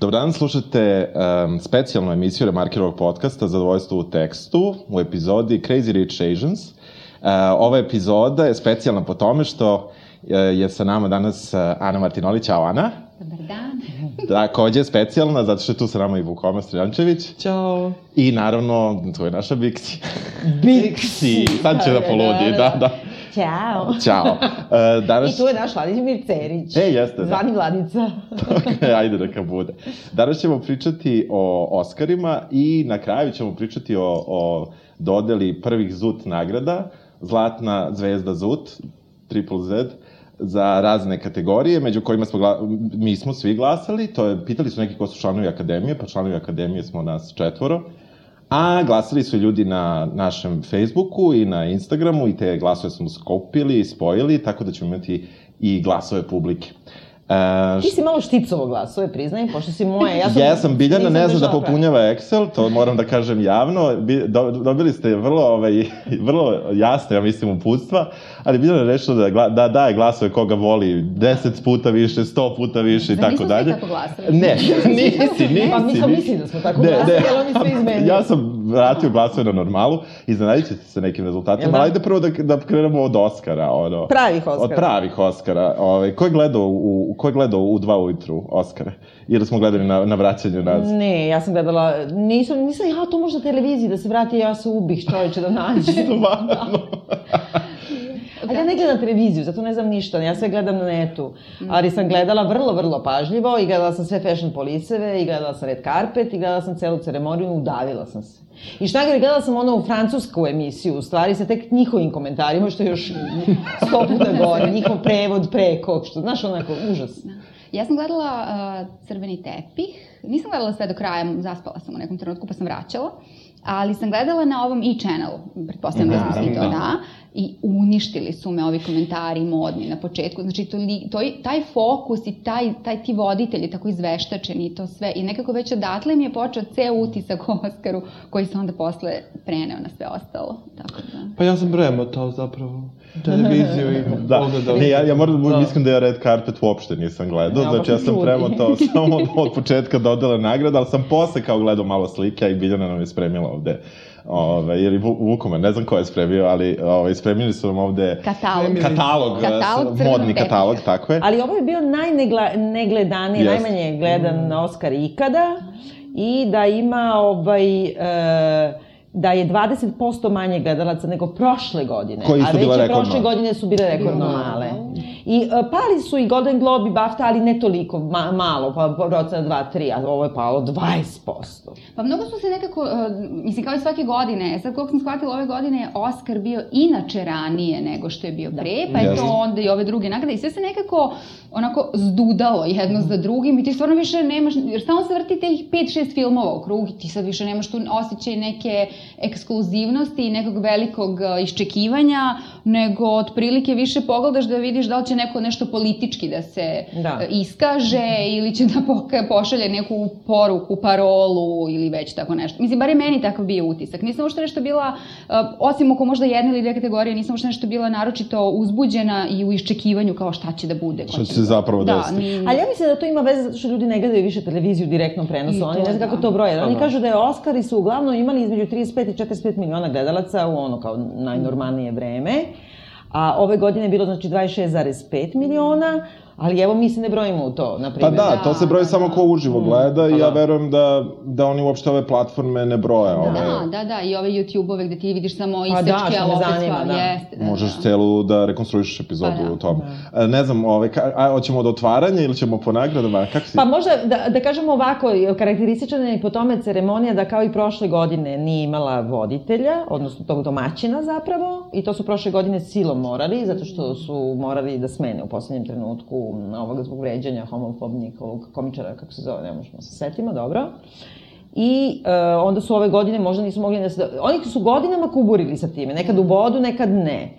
Dobar dan, slušate um, specijalnu emisiju Remarkerovog podcasta Zadovoljstvo u tekstu u epizodi Crazy Rich Asians. Uh, ova epizoda je specijalna po tome što uh, je sa nama danas uh, Ana Martinolić. Ćao, Ana. Dobar dan. Takođe je specijalna zato što je tu sa nama i Vukoma Strijančević. Ćao. I naravno, tu je naša Biksi. Biksi. Sad će da poludi, da, da. Ćao. Ćao. Uh, I danas... tu je naš Vladimir Cerić. E, jeste, da. Zvani Vladica. Ajde neka bude. Danas ćemo pričati o Oscarima i na kraju ćemo pričati o, o dodeli prvih ZUT nagrada, Zlatna zvezda ZUT, Triple Z, za razne kategorije, među kojima smo gla... mi smo svi glasali, to je, pitali su neki ko su članovi akademije, pa članovi akademije smo nas četvoro, a glasali su ljudi na našem Facebooku i na Instagramu i te glasove smo skopili i spojili, tako da ćemo imati i glasove publike. E, Ti si malo šticovo glasove, priznajem, pošto si moje. Ja sam, Ja sam Biljana, nisam ne zna da držala pravo. popunjava Excel, to moram da kažem javno. Bi- do- Dobili ste vrlo, ovaj, vrlo jasne, ja mislim, uputstva, ali Biljana je rešila da, gla- da daje glasove koga voli 10 puta više, 100 puta više i Zar tako nismo svi dalje. tako glasali? Ne, nisi, nisi. Pa mi smo nisi. mislili da smo tako glasali, ali oni sve izmenili. ja sam vratio glasove na normalu, iznenadit ćete se nekim rezultatima, Jel da? ali ajde prvo da, da krenemo od Oscara, ono. Pravih Oscara. Od pravih Oscara. Ovaj, ko je gledao u, ko je gledao u dva ujutru Oscara? Ili smo gledali na, na vraćanju Mm. nazad? Ne, ja sam gledala, nisam, nisam, ja to možda televiziji da se vrati, ja se ubih čoveče da nađe. Stvarno. Ali Da. ja ne gledam televiziju, zato ne znam ništa, ja sve gledam na netu. Ali sam gledala vrlo, vrlo pažljivo i gledala sam sve fashion policeve i gledala sam red carpet i gledala sam celu ceremoniju, udavila sam se. I šta ga gledala sam ono u francusku emisiju, u stvari sa tek njihovim komentarima, što je još sto puta gore, njihov prevod preko, što, znaš, onako, užas. Da. Ja sam gledala uh, Crveni tepih. Nisam gledala sve do kraja, zaspala sam u nekom trenutku pa sam vraćala. Ali sam gledala na ovom e-channelu, pretpostavljam da smo svi to, Naravno. da. I uništili su me ovi komentari modni na početku. Znači, to, li- to, je- taj fokus i taj, taj ti voditelji tako izveštačeni i to sve. I nekako već odatle mi je počeo ceo utisak o Oskaru koji se onda posle preneo na sve ostalo. Tako da... Pa ja sam premotao zapravo televiziju i Da, pogledao. ne, ja, ja moram da budem Da. iskren da ja Red Carpet uopšte nisam gledao, Ja, baš znači ja sam čudi. premotao samo od početka dodele nagrada, ali sam posle kao gledao malo slike a i Biljana nam je spremila ovde, ove, ili Vu- Vukomer, ne znam ko je spremio, ali ove, spremili su nam ovde Katalog. katalog, Katalog eh, modni crvenog katalog, tepiha. tako je. Ali ovo je bio najnegledaniji, Jest. Mm. najmanje gledan Oscar ikada i da ima ovaj... E, da je 20% manje gledalaca nego prošle godine. Koji su a već bile i rekordno. prošle godine su bile rekordno Bilo male. I e, pali su i Golden Globe i BAFTA, ali ne toliko, ma, malo, pa procena 2-3, a ovo je palo 20%. Pa mnogo su se nekako, uh, mislim kao i svake godine, sad koliko sam shvatila ove godine je Oscar bio inače ranije nego što je bio pre, pa je Jeste. to onda i ove druge nagrade i sve se nekako onako zdudalo jedno za drugim i ti stvarno više nemaš, jer stalno se vrti teh 5-6 filmova u krug i ti sad više nemaš tu osjećaj neke ekskluzivnosti i nekog velikog uh, iščekivanja, nego otprilike više pogledaš da vidiš da li će neko nešto politički da se Da. uh, iskaže ili će da poka- pošalje neku poruku, parolu ili već tako nešto. Mislim, bar je meni takav bio utisak. Nisam uopšte nešto bila, uh, osim oko možda jedne ili dve kategorije, nisam uopšte nešto bila naročito uzbuđena i u iščekivanju kao šta će da bude. ko Šta će da- se zapravo da, desiti? ni- Ali ja mislim da to ima veze zato što ljudi ne gledaju više televiziju u direktnom prenosu. I Oni to, ne znam kako da. to broje. Oni Pa da. kažu da je Oscari su uglavnom imali između 35 i 45 miliona gledalaca u ono kao najnormalnije vreme. A ove godine je bilo znači 26,5 miliona, ali evo mi se ne brojimo u to, na Pa primjer. da, to se broji da, samo da. ko uživo gleda i Pa ja da. verujem da, da oni uopšte ove platforme ne broje. Ove, Da, da, da, i ove YouTube-ove gde ti vidiš samo da, isečke, što ali me opet zanima, sva, da. jeste. Da, Možeš da. celu da rekonstruišeš epizodu Pa da. u tom. E, Ne znam, ove, ka, a, hoćemo od otvaranja ili ćemo po nagradama? Kako si? Pa možda da, da kažemo ovako, karakteristična je i po tome ceremonija da kao i prošle godine nije imala voditelja, odnosno tog domaćina zapravo, i to su prošle godine silom morali, zato što su morali da smene u poslednjem trenutku m, ovog zbog vređanja homofobnih ovog komičara, kako se zove, ne možemo da se setimo, dobro. I e, onda su ove godine možda nisu mogli da se... Oni su godinama kuburili sa time, nekad u vodu, nekad ne.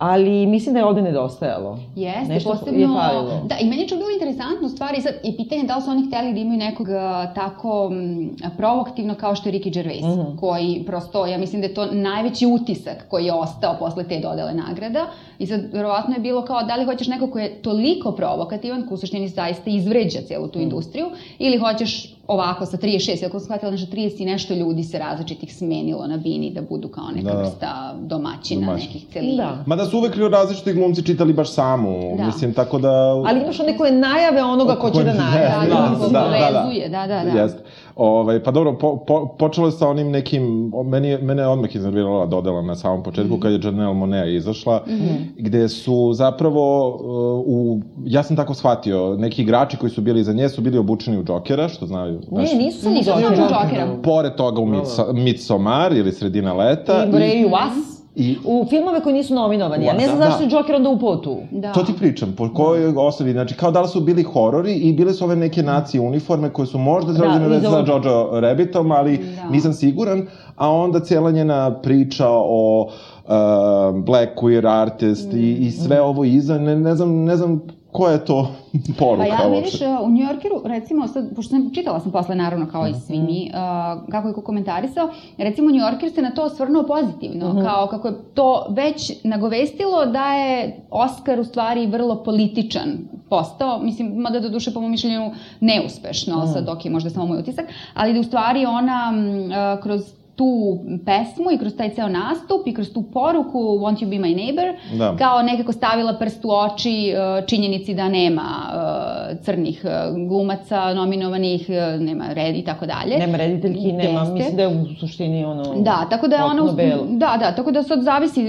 ali mislim da je ovde nedostajalo. Jeste, Nešto posebno... je falilo. Da, i meni je čak bilo interesantno stvari sad i pitanje da li su oni hteli da imaju nekog a, tako m, provokativno kao što je Ricky Gervais, Mhm. koji prosto, ja mislim da je to najveći utisak koji je ostao posle te dodele nagrada i sad verovatno je bilo kao da li hoćeš nekog ko je toliko provokativan, ko u suštini zaista izvređa celu Mhm. tu industriju, ili hoćeš ovako sa 36, ako sam shvatila nešto 30 i nešto ljudi se različitih smenilo na bini da budu kao neka Da, da. vrsta domaćina, Domaćin. nekih celina. Da. Mada su uvek različiti glumci čitali baš samu, Da. mislim, tako da... Ali imaš one koje najave onoga ko će da Ko- nagradi. Da, da, Jeste, da, povezuje, da, da, da. Jeste. Ovaj, pa dobro, po, po, počelo je sa onim nekim, o, meni, je- mene je odmah iznervirala dodela na samom početku, kad je Janelle Monáe izašla, gde su zapravo, uh, u, ja sam tako shvatio, neki igrači koji su bili iza nje su bili obučeni u Jokera, što znaju. znaš, Ne, nisu samo Nisu samo Joker. džokera. Pored toga u Midso- Midsommar ili Sredina leta. I Bray u Us. i, U filmove koji nisu nominovani. Ja ne znam Da. zašto je Joker onda upao tu. Da. To ti pričam, po kojoj osnovi, znači kao da li su bili horori i bile su ove neke nacije uniforme koje su možda trebali da, iz veze sa ovog- Jojo Rabbitom, ali Da. nisam siguran, a onda cijela njena priča o uh, Black Queer Artist i, i sve ovo iza, ne, ne znam, ne znam koja je to Pa poruka ja vidiš, uopšte. u New Yorkeru, recimo, sad, pošto sam, čitala sam posle, naravno, kao i svi Mhm. mi, a, kako je ko komentarisao, recimo, New Yorker se na to osvrnuo pozitivno, Mhm. kao kako je to već nagovestilo da je Oscar u stvari vrlo političan postao, mislim, mada do duše, po mom mišljenju, neuspešno, Mhm. sad, ok, možda je samo moj utisak, ali da u stvari ona m, a, kroz tu pesmu i kroz taj ceo nastup i kroz tu poruku Won't you be my neighbor Da. kao nekako stavila prst u oči e, činjenici da nema e, crnih e, glumaca nominovanih, e, nema red i tako dalje. Nema rediteljki, nema, Jeste. mislim da je u suštini ono... Da, tako da je ona... potpuno us- belo. Da, da, tako da sad zavisi,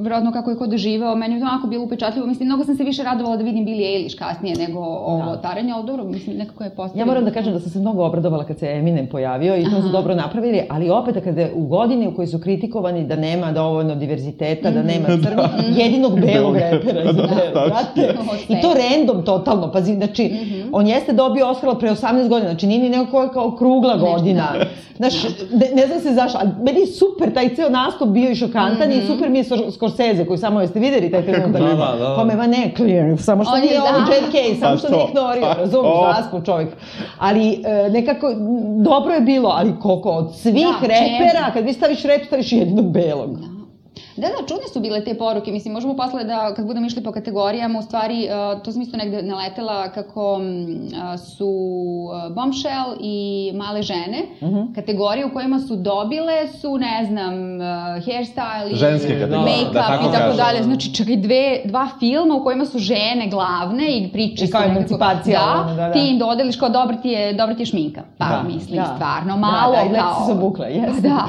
vjerojatno kako je ko doživeo, meni je to onako bilo upečatljivo, mislim, mnogo sam se više radovala da vidim Billie Eilish kasnije nego ovo taranje, ali dobro, mislim, nekako je postavljeno. Da. Ja moram da kažem da sam se mnogo obradovala kad se Eminem pojavio i to su dobro napravili, ali opet kada je u godini u kojoj su kritikovani da nema dovoljno diverziteta, da nema crnih, jedinog belog repera Mhm. Da, da, izaberu, tačno. brate. I to random totalno, pazi, znači, Mhm. on jeste dobio Oscara pre 18 godina, znači nije ni neko ko je kao krugla godina. da. Znaš, ne, ne znam se zašto, ali meni je super taj ceo nastup bio i šokantan Mhm. i super mi je Sor- Scorsese koji samo jeste videli taj trenutak. klima, da, da. Kome, ma ne, clear, samo što On je nije ovo da. JFK, samo Pa što što? nije ignorio, Pa razumiješ, to. zaspu čovjek. Ali e, nekako, m, dobro je bilo, ali koliko od svih Da, repera, kad vi staviš rep, staviš jedinog belog. Da, da, čudne su bile te poruke. Mislim, možemo posle da, kad budemo išli po kategorijama, u stvari, uh, to sam isto negde naletela kako mm, uh, su uh, Bombshell i Male žene, kategorije u kojima su dobile su, ne znam, uh, hairstyle, i Ženske Da, kategorije, make-up da, tako i tako kažem. dalje. Znači, čak i dve, dva filma u kojima su žene glavne i priče I kao su nekako- emancipacija, ono, Da, da, da. ti im dodeliš kao dobra ti je, dobra ti je šminka. Pa, Da, mislim, da. stvarno, Da, malo da, i lep kao... si se obukla, jeste. Pa Da,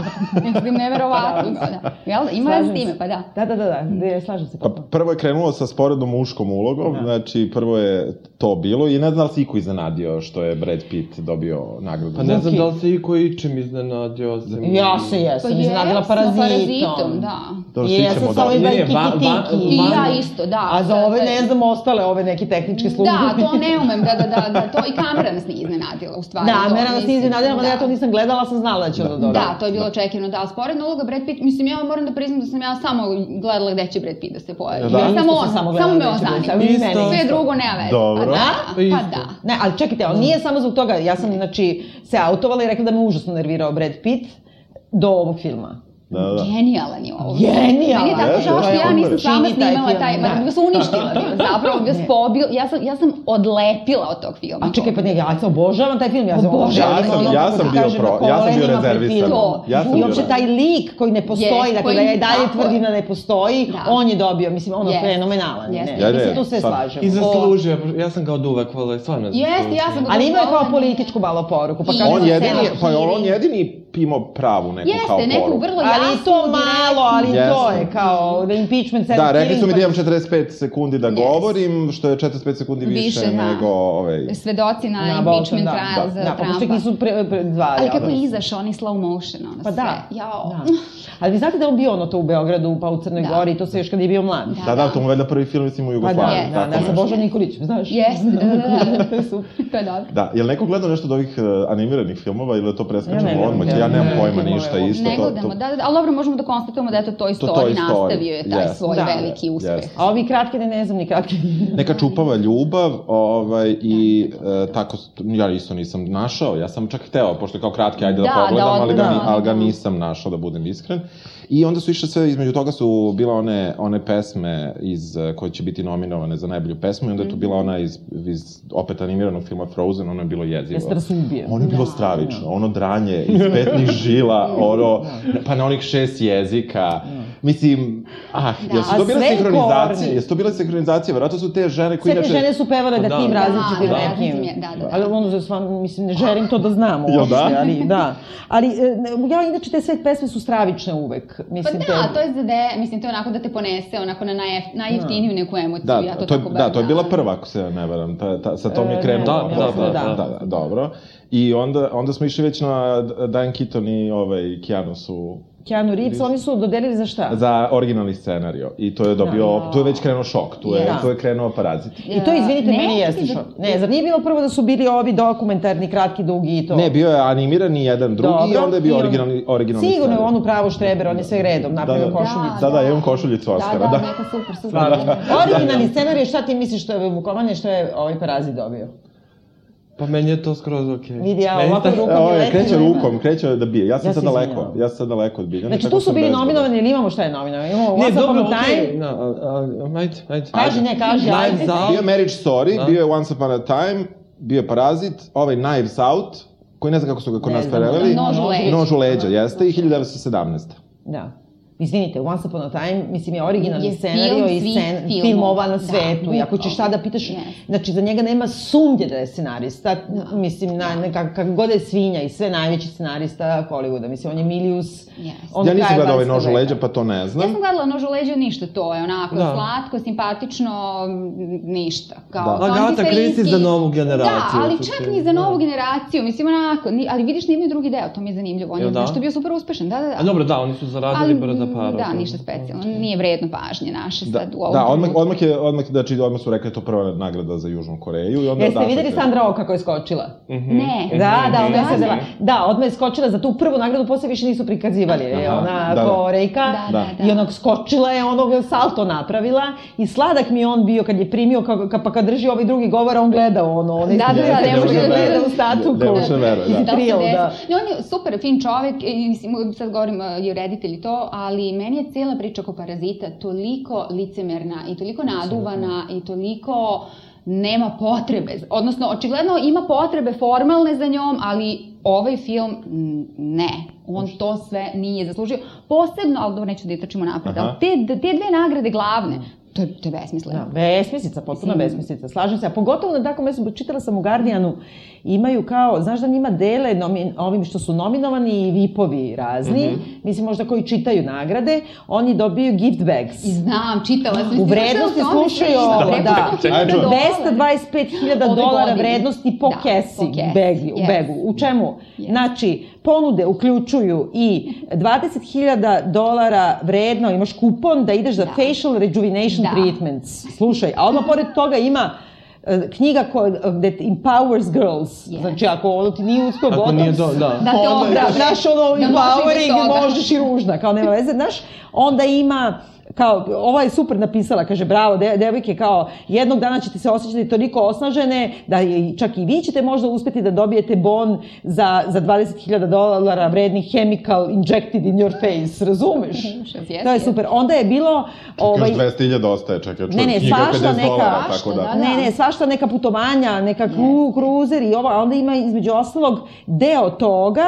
mislim, neverovatno. kao da. Jel, da, ima veze s Slažem time, se. pa da. Da, da, da, da, da, slažem se. Pa prvo je krenulo sa sporednom muškom ulogom, znači prvo je to bilo i ne znam da li se iko iznenadio što je Brad Pitt dobio nagradu. Pa ne znam Ok. da li se iko ičim iznenadio osim... Ja se Pa jesam, iznadila jesmo, parazitom. parazitom, da. Dobro, I svi ja ćemo da- sam samo dobiti. izda i Ne, ne, van- van- tiki-tiki. I van- ja isto, da. A za Sad, ove to je- ne znam ostale, ove neke tehničke službe. Da, to ne umem, da, da, da, da, to i kamera nas nije iznenadila, u stvari. Da, to mera nas mislim, nije iznenadila, mada da. ja to nisam gledala, sam znala da će ono dobro. Da, to je bilo očekivano, da, ali sporedna uloga Brad Pitt, mislim, ja moram da priznam da sam ja samo gledala gde će Brad Pitt da se pojavi. Da. Ja Isto samo sam on, samo samo, gledala me gde on će zanima. Brad Pitt. Isto. Meni Sve isto. drugo nema veze. Dobro. Pa da, Isto. pa da. Ne, ali čekajte, ali nije samo zbog toga. Ja sam, znači, se autovala i rekla da me užasno nervirao Brad Pitt do ovog filma. Da, da. Genijalan je ovo. Genijalan! Meni je tako Jeste, žao što ja super. nisam sama Čini taj snimala film, taj, ma da. ga sam uništila, film, zapravo ga spobil, ja sam, ja sam odlepila od tog filma. A čekaj, pa ne, ja sam obožavam taj film, ja sam Obožavam. Ja obožavam. sam- ono, ja kako sam ti bio kažem, da na pro- ja sam bio kolenima pred rezervisan. filmom. Ja sam I bio uopće taj lik koji ne postoji, Jest, dakle koji- da ja i dalje tako je. tvrdim da ne postoji, Da. on je dobio, mislim, ono, Jest. fenomenalan. je, Jest. Ne, Ja, mi se ne, tu sve sad- slažemo. I O, zaslužio, ja sam ga od uvek volao, stvarno Jeste, ja zaslužio. sam ga- Ali ima je kao Hvala. političku malo poruku, pa I- kao On ima jedini, scena pa je širi. on jedini imao pravu neku kao Jeste, neku poruku. vrlo jasnu. Ali i to malo, ali i to Jeste. je kao da impeachment Senate Da, rekli su mi da hearing, imam 45 sekundi da govorim, što je 45 sekundi više, Više, da. nego ovaj... svedoci na, Na Bolton, impeachment da. trial Da, za da, pa pošto ih Trumpa. nisu pre, pre, zvali. Ali kako ono. je izašao, on je slow motion, ono Pa sve. da. Jao. da. Ali vi znate da je on bio ono to u Beogradu, pa u Crnoj Da. Gori, i to sve još kad je bio mlad. Da, da, to mu valjda prvi film mislim u Jugoslaviji. Jeste. da, tako da, sa nešto. Božom Nikolićem, znaš? Jeste, da, da, da. To je super. To je dobro. Da, je li neko gledao nešto od ovih e, animiranih filmova ili je to Ja ne preskačeno gledam, odmah? Ja, ja ja nemam Ne, pojma ne ništa gledamo. isto. ne to- to- gledamo, da, da, da, ali dobro, možemo da konstatujemo da eto Toy To Story, Toy Story, nastavio je taj yes. svoj Da. veliki uspeh. Yes. A ovi kratki, ne, ne znam ni kratki. Neka čupava ljubav, ovaj, i e, tako, s- ja isto nisam našao, ja sam čak hteo, pošto je kao kratki, ajde da, Da, da, pogledam, ali, ga, ni- odmah, ali ga da. nisam našao, da budem iskren. I onda su išle sve, između toga su bila one, one pesme iz, e, koje će biti nominovane za najbolju pesmu, i onda je tu Mhm. bila ona iz, iz opet animiranog filma Frozen, ono je bilo jezivo. Jeste da se ubije. Ono je bilo Da. stravično, ono dranje iz petnih žila, ono, pa na onih šest jezika. Mislim, ah, Da. jesu Da. A to bile sve je sinhronizacije? korni. Jesu to bile sinhronizacije? Vratno su te žene koje Sve te inače... žene su pevale na Da. tim Da, različitim da, nekim. različitim je, da, da, da. Ali ono za sva, mislim, ne želim to da znam Jel uopšte, da? ali da. Ali, e, ne, ja inače te sve pesme su stravične uvek. Pa Mislim, da, to je za de, mislim, to je onako da te ponese onako na najjef, najjeftiniju neku emociju, Da, ja to, to je, tako da, to je bar- bila prva, ako se ne varam, ta, ta, sa tom E, je krenuo. ne, Da, da, da, da, da. da, dobro. I onda, onda smo išli već na Dan Keaton i ovaj, Keanu su Keanu Reeves, oni su dodelili za šta? za originalni scenario. I to je dobio, Da. tu je već krenuo šok, tu je, Da. tu je krenuo parazit. I to, izvinite, Ne, meni jeste čekaj, šok. Ne, zar nije bilo prvo da su bili ovi dokumentarni, kratki, dugi i to? Ne, bio je animirani jedan, drugi Dobro, i onda je bio i on- originalni, originalni Sigurno je scenarij. on u pravu štreber, on je sve redom napravio Da, da. košuljicu. Da, da, imam košuljicu Oscara, Da, da, da. neka super, super. Da, da. Originalni scenarij, šta ti misliš što je Vukovanje, što je ovaj parazit dobio? Pa meni je to skroz okej. Vidi, ja Meni ovako ta- rukom Evo, mi je, leti. kreće žena. rukom, kreće da bije. Ja sam Ja se sad daleko, izvinjavam. ja sam sad daleko od Biljane. Znači, tako tu su sam bili bezbedan. nominovani ili imamo šta je nominovani? Imamo Ne, Once Upon dobro, a okej. Time. Na, a, a, ajde, ajde. Kaži, ne, kaži, Knives ajde. Out. Bio je Marriage Story, Da. bio je Once Upon a Time, bio je Parazit, ovaj Knives Out, koji ne znam kako su ga kod Ne nas znam, preveli. da, Nož u leđa. Nož u leđa, jeste, i 1917. Da. Izvinite, Once Upon a Time, mislim, je originalni Je scenario film i svih scen, filmova. filmova na Da, svetu. I ako ćeš bukvalno. sada pitaš, Yes. Da. znači, za njega nema sumnje da je scenarista. Mislim, na, na, kak, kak god je svinja i sve najveći scenarista Hollywooda. Mislim, on je Milius. Yes. ono Ja nisam kraja gledao ovaj Nož u 20. leđa, pa to ne Ja znam. sam gledala nož u leđa, ništa to je, onako, Da. slatko, simpatično, m, ništa. Kao, Da. to oni Agatha sve Christie isti- za novu generaciju, Da, ali to čak će- ni za novu da. generaciju, mislim, onako, ni, ali vidiš, imaju drugi deo, to mi je zanimljivo, on je Jel da? nešto bio super uspešan, da, da, da. A dobro, da, oni su zaradili brda m, para. Da, ništa specijalno, nije vredno pažnje naše Da, sad u ovom da odmah, trenutku. odmah, je, odmah, znači, odmah su rekli da je to prva nagrada za Južnu Koreju. I onda Jeste odatle videli krenuo. Sandra O kako je skočila? Mhm. Ne. E, Da, da, ona Da, je se da. zela- Da, odmah je skočila za tu prvu nagradu, posle više nisu prikazivali. je Aha, da, ona da. korejka Da, da, da. i onog skočila je, onog salto napravila i sladak mi je on bio kad je primio, ka, ka, pa kad drži ovaj drugi govor, a on gleda ono, ono Da, da, da, Jeste, ne može da veruje. gleda u statuku. Ne može da veruje, da. I da li se thrill, desi- da. Ne, on je super fin čovek, i, mislim, sad govorim e, je reditelj i to, ali meni je cijela priča oko parazita toliko licemerna i toliko naduvana i toliko nema potrebe. Odnosno, očigledno ima potrebe formalne za njom, ali ovaj film m, ne. On to sve nije zaslužio. Posebno, ali dobro, neću da itračimo napred, Aha. ali te, te dve nagrade glavne, to je, to je besmisleno. Da, besmislica, potpuna Mislim- besmislica, slažem se. A pogotovo na takvom mestu, čitala sam u Guardianu, imaju kao, znaš da njima dele nomi, ovim što su nominovani i vipovi razni, Mhm. mislim možda koji čitaju nagrade, oni dobiju gift bags. I znam, čitala sam. U Mislim, vrednosti o tome slušaju pričam. ovo, Preko da. 100.000 Ajde. dolara. 225.000 Ove dolara godine. vrednosti po Da, kesi, po kesi, begi, u yes. begu. U čemu? Yes. Znači, ponude uključuju i 20.000 dolara vredno, imaš kupon da ideš za Da. facial rejuvenation Da. treatments. Slušaj, a odmah pored toga ima e, knjiga koja, that empowers girls. Yes. Znači, ako ono ti nije uspio Ako botox, nije do, da. Da te onda, obraže. znaš, ono, Da može i bez empowering, toga. možeš i ružna, kao nema veze, znaš, onda ima kao, ova je super napisala, kaže, bravo, de, devojke, kao, jednog dana ćete se osjećati toliko osnažene, da je, čak i vi ćete možda uspeti da dobijete bon za, za 20.000 dolara vrednih chemical injected in your face, razumeš? Užas, to je jeste. super. Onda je bilo... Još Ovaj, 200.0jd ostaje, čak ja Ne, ne, svašta neka, dolara, tako da. svašta, da. ne, ne, svašta neka putovanja, neka kru, kruzer i ovo, a onda ima između ostalog deo toga,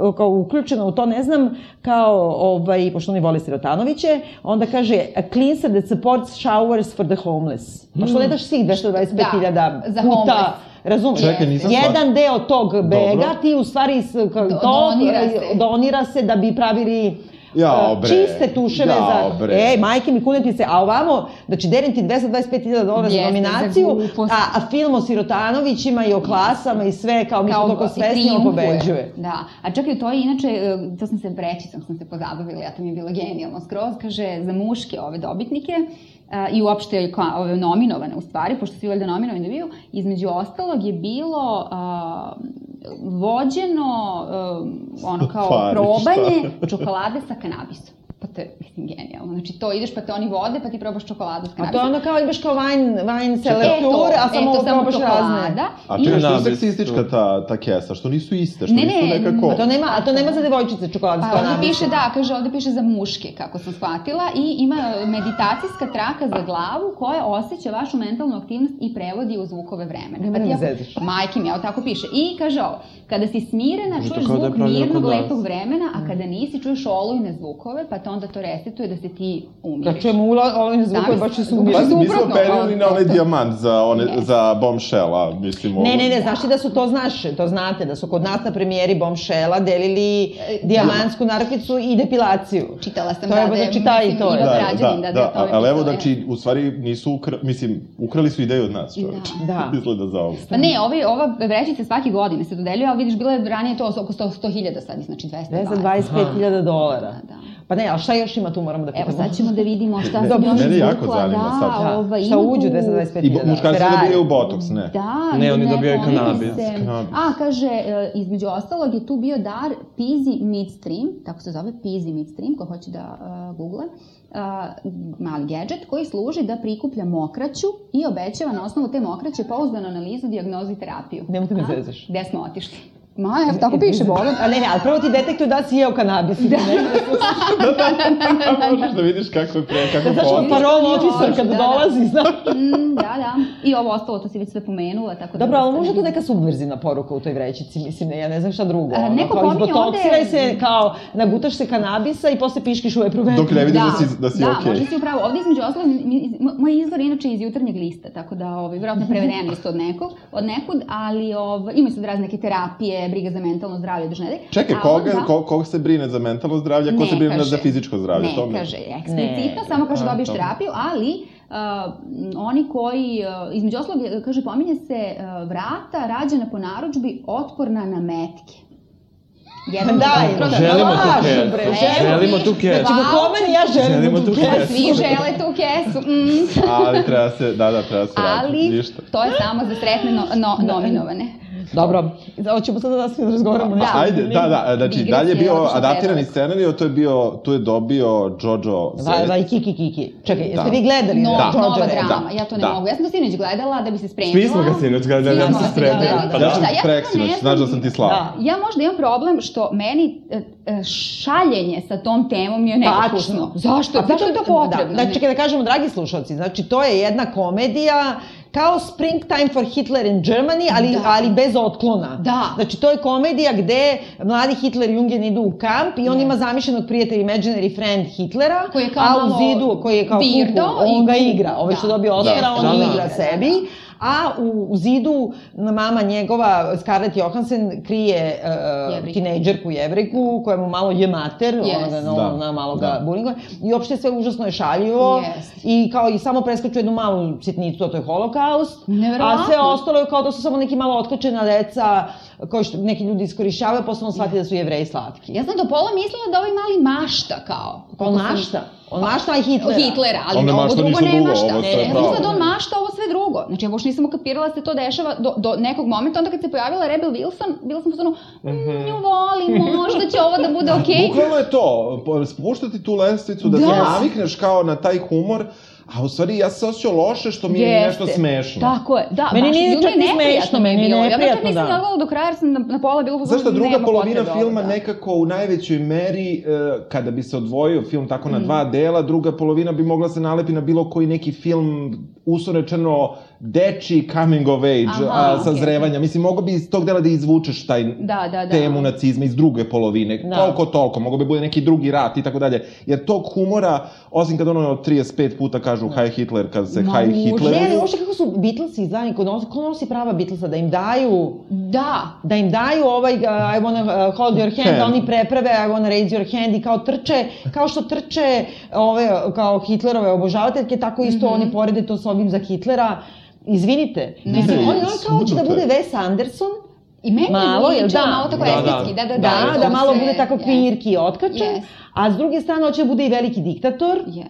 o, kao uključeno u to, ne znam, kao, ovaj, pošto oni vole Sirotanoviće, onda kaže, a cleanser that supports showers for the homeless. Pa što ne daš svih 225.000 Da, da, za homeless. puta, razumeš? Čekaj, nisam Jedan shvatio. deo tog bega Dobro. ti u stvari s- ka- Do- to, donira e, se. donira se da bi pravili Jao, e, bre. čiste tuševe Jao, za... E, bre. Ej, majke mi kunem ti se, a ovamo, znači derim ti 225.000 dolara za Jeste, za nominaciju, glupost. a, a film o Sirotanovićima i o klasama i sve, kao mi smo toliko i svesni, on trijumfuje. da pobeđuje. Da, a čak i to je inače, e, to sam se vrećicom sam se pozabavila, ja to mi je bilo genijalno skroz, kaže za muške ove dobitnike e, i uopšte ka- ove nominovane u stvari, pošto su i valjda nominovani da bio, između ostalog je bilo a, vođeno um, ono kao Pari, probanje čokolade sa kanabisom. Pa to je, mislim, genijalno. Znači, to ideš, pa te oni vode, pa ti probaš čokoladu E, s A kanabisom. to je ono kao imaš kao vine, vine selektor, a samo ovo probaš razne. A čekaj, što je Kanabis, seksistička ta, ta kesa? Što nisu iste? Što Ne, nisu ne, nekako... A to nema, a to nema za devojčice čokolade s Pa ovde kanabisom. piše, da, kaže, ovde piše za muške, kako sam shvatila, i ima e, meditacijska traka za glavu koja osjeća vašu mentalnu aktivnost i prevodi je u zvukove vremena. Pa Nemoj ti da ako- me zezaš. Majke mi, evo tako piše. I kaže ovo, kada si smirena, Zvuči čuješ kao da je zvuk pravljeno mirnog, kod nas. lepog vremena, a kada nisi, čuješ olujne zvukove, pa te onda to resetuje da se ti umiriš. Da čujemo ulo, olovine zvukove, Zamisli, baš će se zvuči Pa umirati. su mi smo suprotno, perili ali na onaj to- dijamant za, one, Yes. za bombshell, a mislim ovo... Ne, ne, ne, znaš ti da su to, znaš, to znate, da su kod nas na premijeri Bombshella delili E, dijamantsku narkicu i depilaciju. Čitala sam To da, je, da, znači, ta i to je. ima Da, da, građanin, da, da, da, da, to je ali evo, pisalo, ja. znači, u stvari nisu, ukra, mislim, ukrali su ideju od nas, čoveče. Da. Da. Izgleda za ovo. Pa ne, ovi, ova vrećica svake godine se dodeljuje, ali vidiš, bilo je ranije to oko 100 100.000, sad je znači 220. 225.000 dolara. Da. Pa ne, ali šta još ima tu, moramo da pitamo. Evo sad ćemo da vidimo šta Ne, se još mene jako izvukla, zanima da, sad. Da. Ova, šta ima uđu tu- 225.000 I bo, muškarci da Ferrari. dobijaju botoks, ne. Da, Ne, oni neko, dobijaju oni kanabis. se- Kanabis. A, kaže, e, između ostalog je tu bio dar Pizi Midstream, tako se zove Pizi Midstream, ko hoće da uh, google, mali gadget koji služi da prikuplja mokraću i obećava na osnovu te mokraće pouzdanu analizu, dijagnozu i terapiju. Nemojte da me A? zezaš. Gde smo otišli? Ma, evo, tako piše, Boga. A ne, ne, ali prvo ti detektuju da si jeo kanabis. Da. Možeš da vidiš kako je pre, kako je Znaš, pola. on parol officer Da, kada da. dolazi, znaš. Mm, da, da. I ovo ostalo, to si već sve pomenula, tako da... Dobro, ali možda ostavim. to neka subverzivna poruka u toj vrećici, mislim, ne, ja ne znam šta drugo. A, ono, neko kao pominje izbotoksiraj ovde- se, kao, nagutaš se kanabisa i posle piškiš u epruvetu. Dok ne vidiš da, si, da si da, okej. možda si upravo. Ovde između ostalog, mi- mi- moj izvor je inače iz jutarnjeg lista, tako da, ovaj, vjerojatno je prevedeno isto od nekog, od nekud, ali ovaj, imaju se razne neke terapije, briga za mentalno zdravlje, držne. Čekaj, koga, ko, koga se brine za mentalno zdravlje, a ko Ne, se brine kaže. za fizičko zdravlje? to Ne, mi- kaže, eksplicitno, samo kaže A, dobiješ dobro. terapiju, ali uh, m, oni koji, uh, između ostalog, kaže, pominje se uh, vrata rađena po narudžbi otporna na metke. Jedan Daj, od- Želimo tu Lažu, kesu. bre, Želimo tu kesu. Znači, po kome ja Želimo želim da tu tu kesu. kesu. Svi žele tu kesu. Mm. Ali treba se, da, da, treba se raditi. ali Ništa. to je samo za sretne no, no, Da. nominovane. Dobro, da, hoćemo sada da se razgovaramo. nešto. Ajde, da, da, znači Digresija, dalje je bio otišla adaptirani predaleko. scenarij, to je bio, tu je dobio Jojo Va, va, Zed. i kiki, kiki. Čekaj, jeste Da. vi gledali? No, Da. nova Dodgere? drama, Da. ja to ne Da. mogu. Ja sam to sinoć gledala da bi se spremila. Svi smo ga sinoć gledali, Svi ja smo sam ga se spremila. gledali. Pa Pa ja da. sam Šta, ja preksinoć, ne znam- znaš da sam ti slao. Da. Ja možda imam problem što meni e, e, šaljenje sa tom temom je Pa, nekusno. Zašto? A Zašto je to pritom- potrebno? Da, da, čekaj da kažemo, dragi slušalci, znači to je jedna komedija kao Spring Time for Hitler in Germany, ali, Da. ali bez otklona. Da. Znači, to je komedija gde mladi Hitler i Jungen idu u kamp i on Ne. ima zamišljenog prijatelja imaginary friend Hitlera, Koji je kao a u malo zidu, koji je kao weirdo kuku, on i- ga igra. Ovaj što Da. dobio Oscara, Da. on Da, da. igra sebi. A u, u zidu mama njegova, Scarlett Johansson, krije uh, Jevriku. tinejdžerku jevriku, koja mu malo je mater, ona ga Yes. na, ono, Da. na malo ga Da. bulinguje. I uopšte sve užasno je šaljivo. Jest. I kao i samo preskaču jednu malu sitnicu, a to je holokaust. Neverovatno. A sve ostalo je kao da su samo neki malo otkočena deca, koji što neki ljudi iskorišćavaju, posle on shvati da su jevreji slatki. Ja sam do pola mislila da ovaj mali mašta kao. On Koliko sam- mašta. On mašta i Hitlera. Hitlera, ali On ne ovo mašta drugo ništa ne drugo, mašta. ovo Ne, sve ja sam mislila pravo. da on mašta ovo sve drugo. Znači, ja baš nisam ukapirala da se to dešava do, do nekog momenta. Onda kad se pojavila Rebel Wilson, bila sam pozorno, mm, nju volim, možda će ovo da bude Mhm. okej. E, Bukvalno je to, po- spuštati tu lestvicu da, Da. se navikneš kao na taj humor, a u stvari ja se osjećao loše što mi je Jeste. nešto smešno. Tako je, da. Meni baš, nije bilo mi je čak ni neprijatno smešno, meni mi je bilo. je Ja baš čak neprijatno, nisam da. gledala do kraja jer sam na, na pola bila u fazonu, Zašto druga nema polovina potrebe filma ovo, da. nekako u najvećoj meri, e, kada bi se odvojio film tako Mm. na dva dela, druga polovina bi mogla se nalepi na bilo koji neki film, uslovno rečeno, deči coming of age, Aha, a, sa okej. zrevanja. Mislim, mogao bi iz tog dela da izvučeš taj Da, da, da. temu nacizma iz druge polovine, Da. toliko toliko, mogo bi bude neki drugi rat i tako dalje. Jer tog humora, osim kad ono 35 puta kažu Haj Hitler, kad se Ma, Haj Hitler... Ne, ali uopšte kako su Beatlesi izdani, ko nosi, ko nosi prava Beatlesa, da im daju Da. da im daju ovaj uh, I wanna uh, hold your hand, Hand. da oni preprave I wanna raise your hand i kao trče, kao što trče ove, kao Hitlerove obožavateljke, tako isto oni porede to sa ovim za Hitlera. Izvinite, mislim, ne, on, on kao hoće da suludo bude je. Wes Anderson, I meni Malo, jel zvučao da? malo tako Da, da. estetski, da, da, da. da, da, to malo sve, bude tako yes. quirky i otkačen, Yes. a s druge strane hoće da bude i veliki diktator, Yes.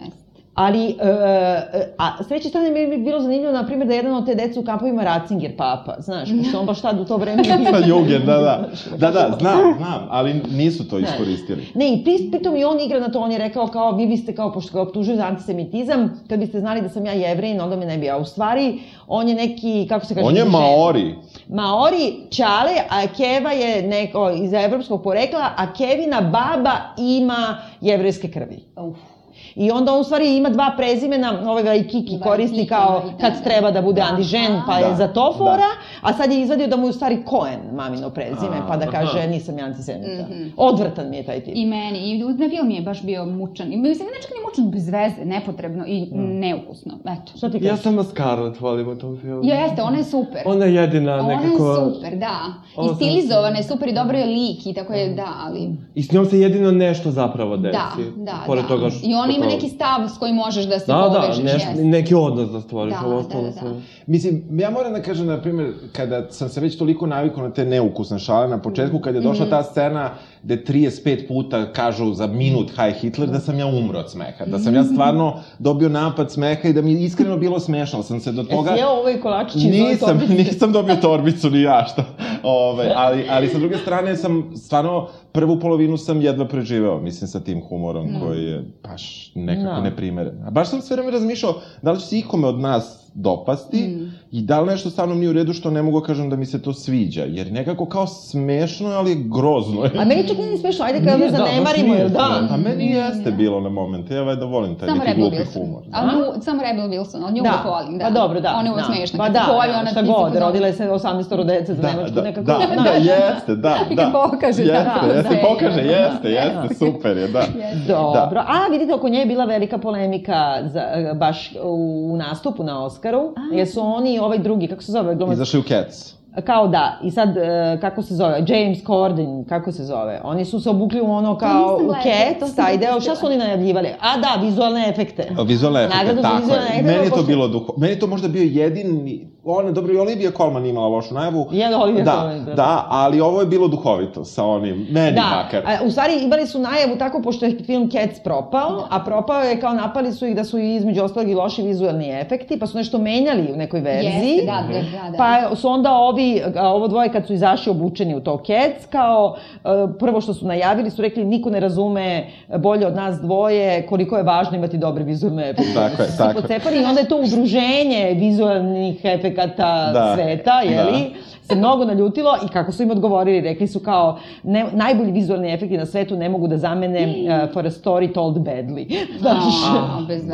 Ali, e, e, a s treće strane mi je uvijek bilo zanimljivo, na primjer, da jedan od te dece u kampovima Ratzinger papa, znaš, pošto on baš tad u to vreme... je bio- Pa Jugend, da, da. Da, da, znam, znam, ali nisu to iskoristili. Ne, i pris- pritom i on igra na to, on je rekao kao, vi biste kao, pošto ga optužuju za antisemitizam, kad biste znali da sam ja jevrin, onda me ne bi, a u stvari, on je neki, kako se kaže... On je žena. Maori. Maori Čale, a Keva je neko iz evropskog porekla, a Kevina baba ima jevrejske krvi. Uf. I onda on u stvari ima dva prezimena, ovaj ga i Kiki Dva koristi Kiki, kao da, kad da. treba da bude Aha. andižen, pa je Da, za to da. fora, a sad je izvadio da mu je u stvari Cohen mamino prezime, A, pa da aha. kaže nisam ja antisemita. Mhm. Odvrtan mi je taj tip. I meni, i na film je baš bio mučan. I mislim, ne čak ni mučan, bez veze, nepotrebno i neukusno. Eto. Da. Šta ti Ja kažeš? samo Scarlett volim u tom filmu. Ja, jeste, ona je super. Ona je jedina Ona nekako... je super, da. Ona I sam- stilizovana je super i dobro je lik i tako Mm. je, da, ali... I s njom se jedino nešto zapravo desi. Da, da, Pored da. Toga što, I ona ima neki stav s kojim možeš da se Da, da, povežeš. neš, jeste. neki odnos da stvoriš. Da, ovo ostalo da, da, da. se- Mislim, ja moram da kažem, na primjer, kada sam se već toliko navikao na te neukusne šale na početku, kada je došla ta scena gde 35 puta kažu za minut Haj Hitler, da sam ja umro od smeha. Da sam ja stvarno dobio napad smeha i da mi je iskreno bilo smešno. ali Sam se do toga... Jesi jeo ovaj kolačić iz ove Nisam, torbice? nisam dobio torbicu, ni ja šta. Ove, ali, ali sa druge strane sam stvarno prvu polovinu sam jedva preživeo, mislim sa tim humorom koji je baš nekako Da. neprimeren. A baš sam sve vreme razmišljao da li će se ikome od nas dopasti i da li nešto sa mnom nije u redu što ne mogu kažem da mi se to sviđa, jer nekako kao smešno je, ali je grozno je. A meni čak nije ni smešno, ajde kada Nije, me da, baš zanemarimo, nije jel da? smešno. Pa meni jeste bilo na momente, ja valjda volim taj Samo neki Rebel glupi Wilson. humor. A nju, samo Rebel Wilson, ali nju Da. uvijek volim, da. Pa dobro, da. Ona je uvijek da. smiješna. Pa Kad da, se pojavi, ona šta ti se god, pozove. rodila je se 18 dece za Nemačku, nekako. da, znaš. da, jeste, da, I da. kad pokaže, da, jeste, da, jeste, sve, pokaže, da, jeste, da. jeste, super je, da. Dobro. A vidite, oko nje je bila velika polemika za, e, baš u, u nastupu na Oskaru, jer su oni i ovaj drugi, kako se zove, glumac, Izašli u Cats. kao da, i sad, e, kako se zove, James Corden, kako se zove, oni su se obukli u ono kao nisam u gledala, to Cats, sam taj deo, šta su propustila. oni najavljivali? A da, vizualne efekte. Vizualne efekte, Nagradu za tako vizualne je. efekte, Meni je to pošto- bilo duho. Meni je to možda bio jedini... Ona, dobro, i Olivia Colman imala lošu najavu. Je, Da, da, Olivia da, Colman, da. da. ali ovo je bilo duhovito sa onim, meni makar. a, u stvari imali su najavu tako pošto je film Cats propao, a propao je kao napali su ih da su i između ostalog i loši vizualni efekti, pa su nešto menjali u nekoj verziji. Jeste, da, Mhm. da, da, da. Pa su onda ovi, a, ovo dvoje kad su izašli obučeni u to Cats, kao e, prvo što su najavili su rekli niko ne razume bolje od nas dvoje koliko je važno imati dobre vizualne efekte. Tako je, Su se tako je. pocepali i onda je to udruženje vizualnih efekata Da, sveta, jeli? da. se mnogo naljutilo i kako su im odgovorili, rekli su kao ne, najbolji vizualni efekti na svetu ne mogu da zamene uh, for a story told badly. Znaš, A, Da, bez veze,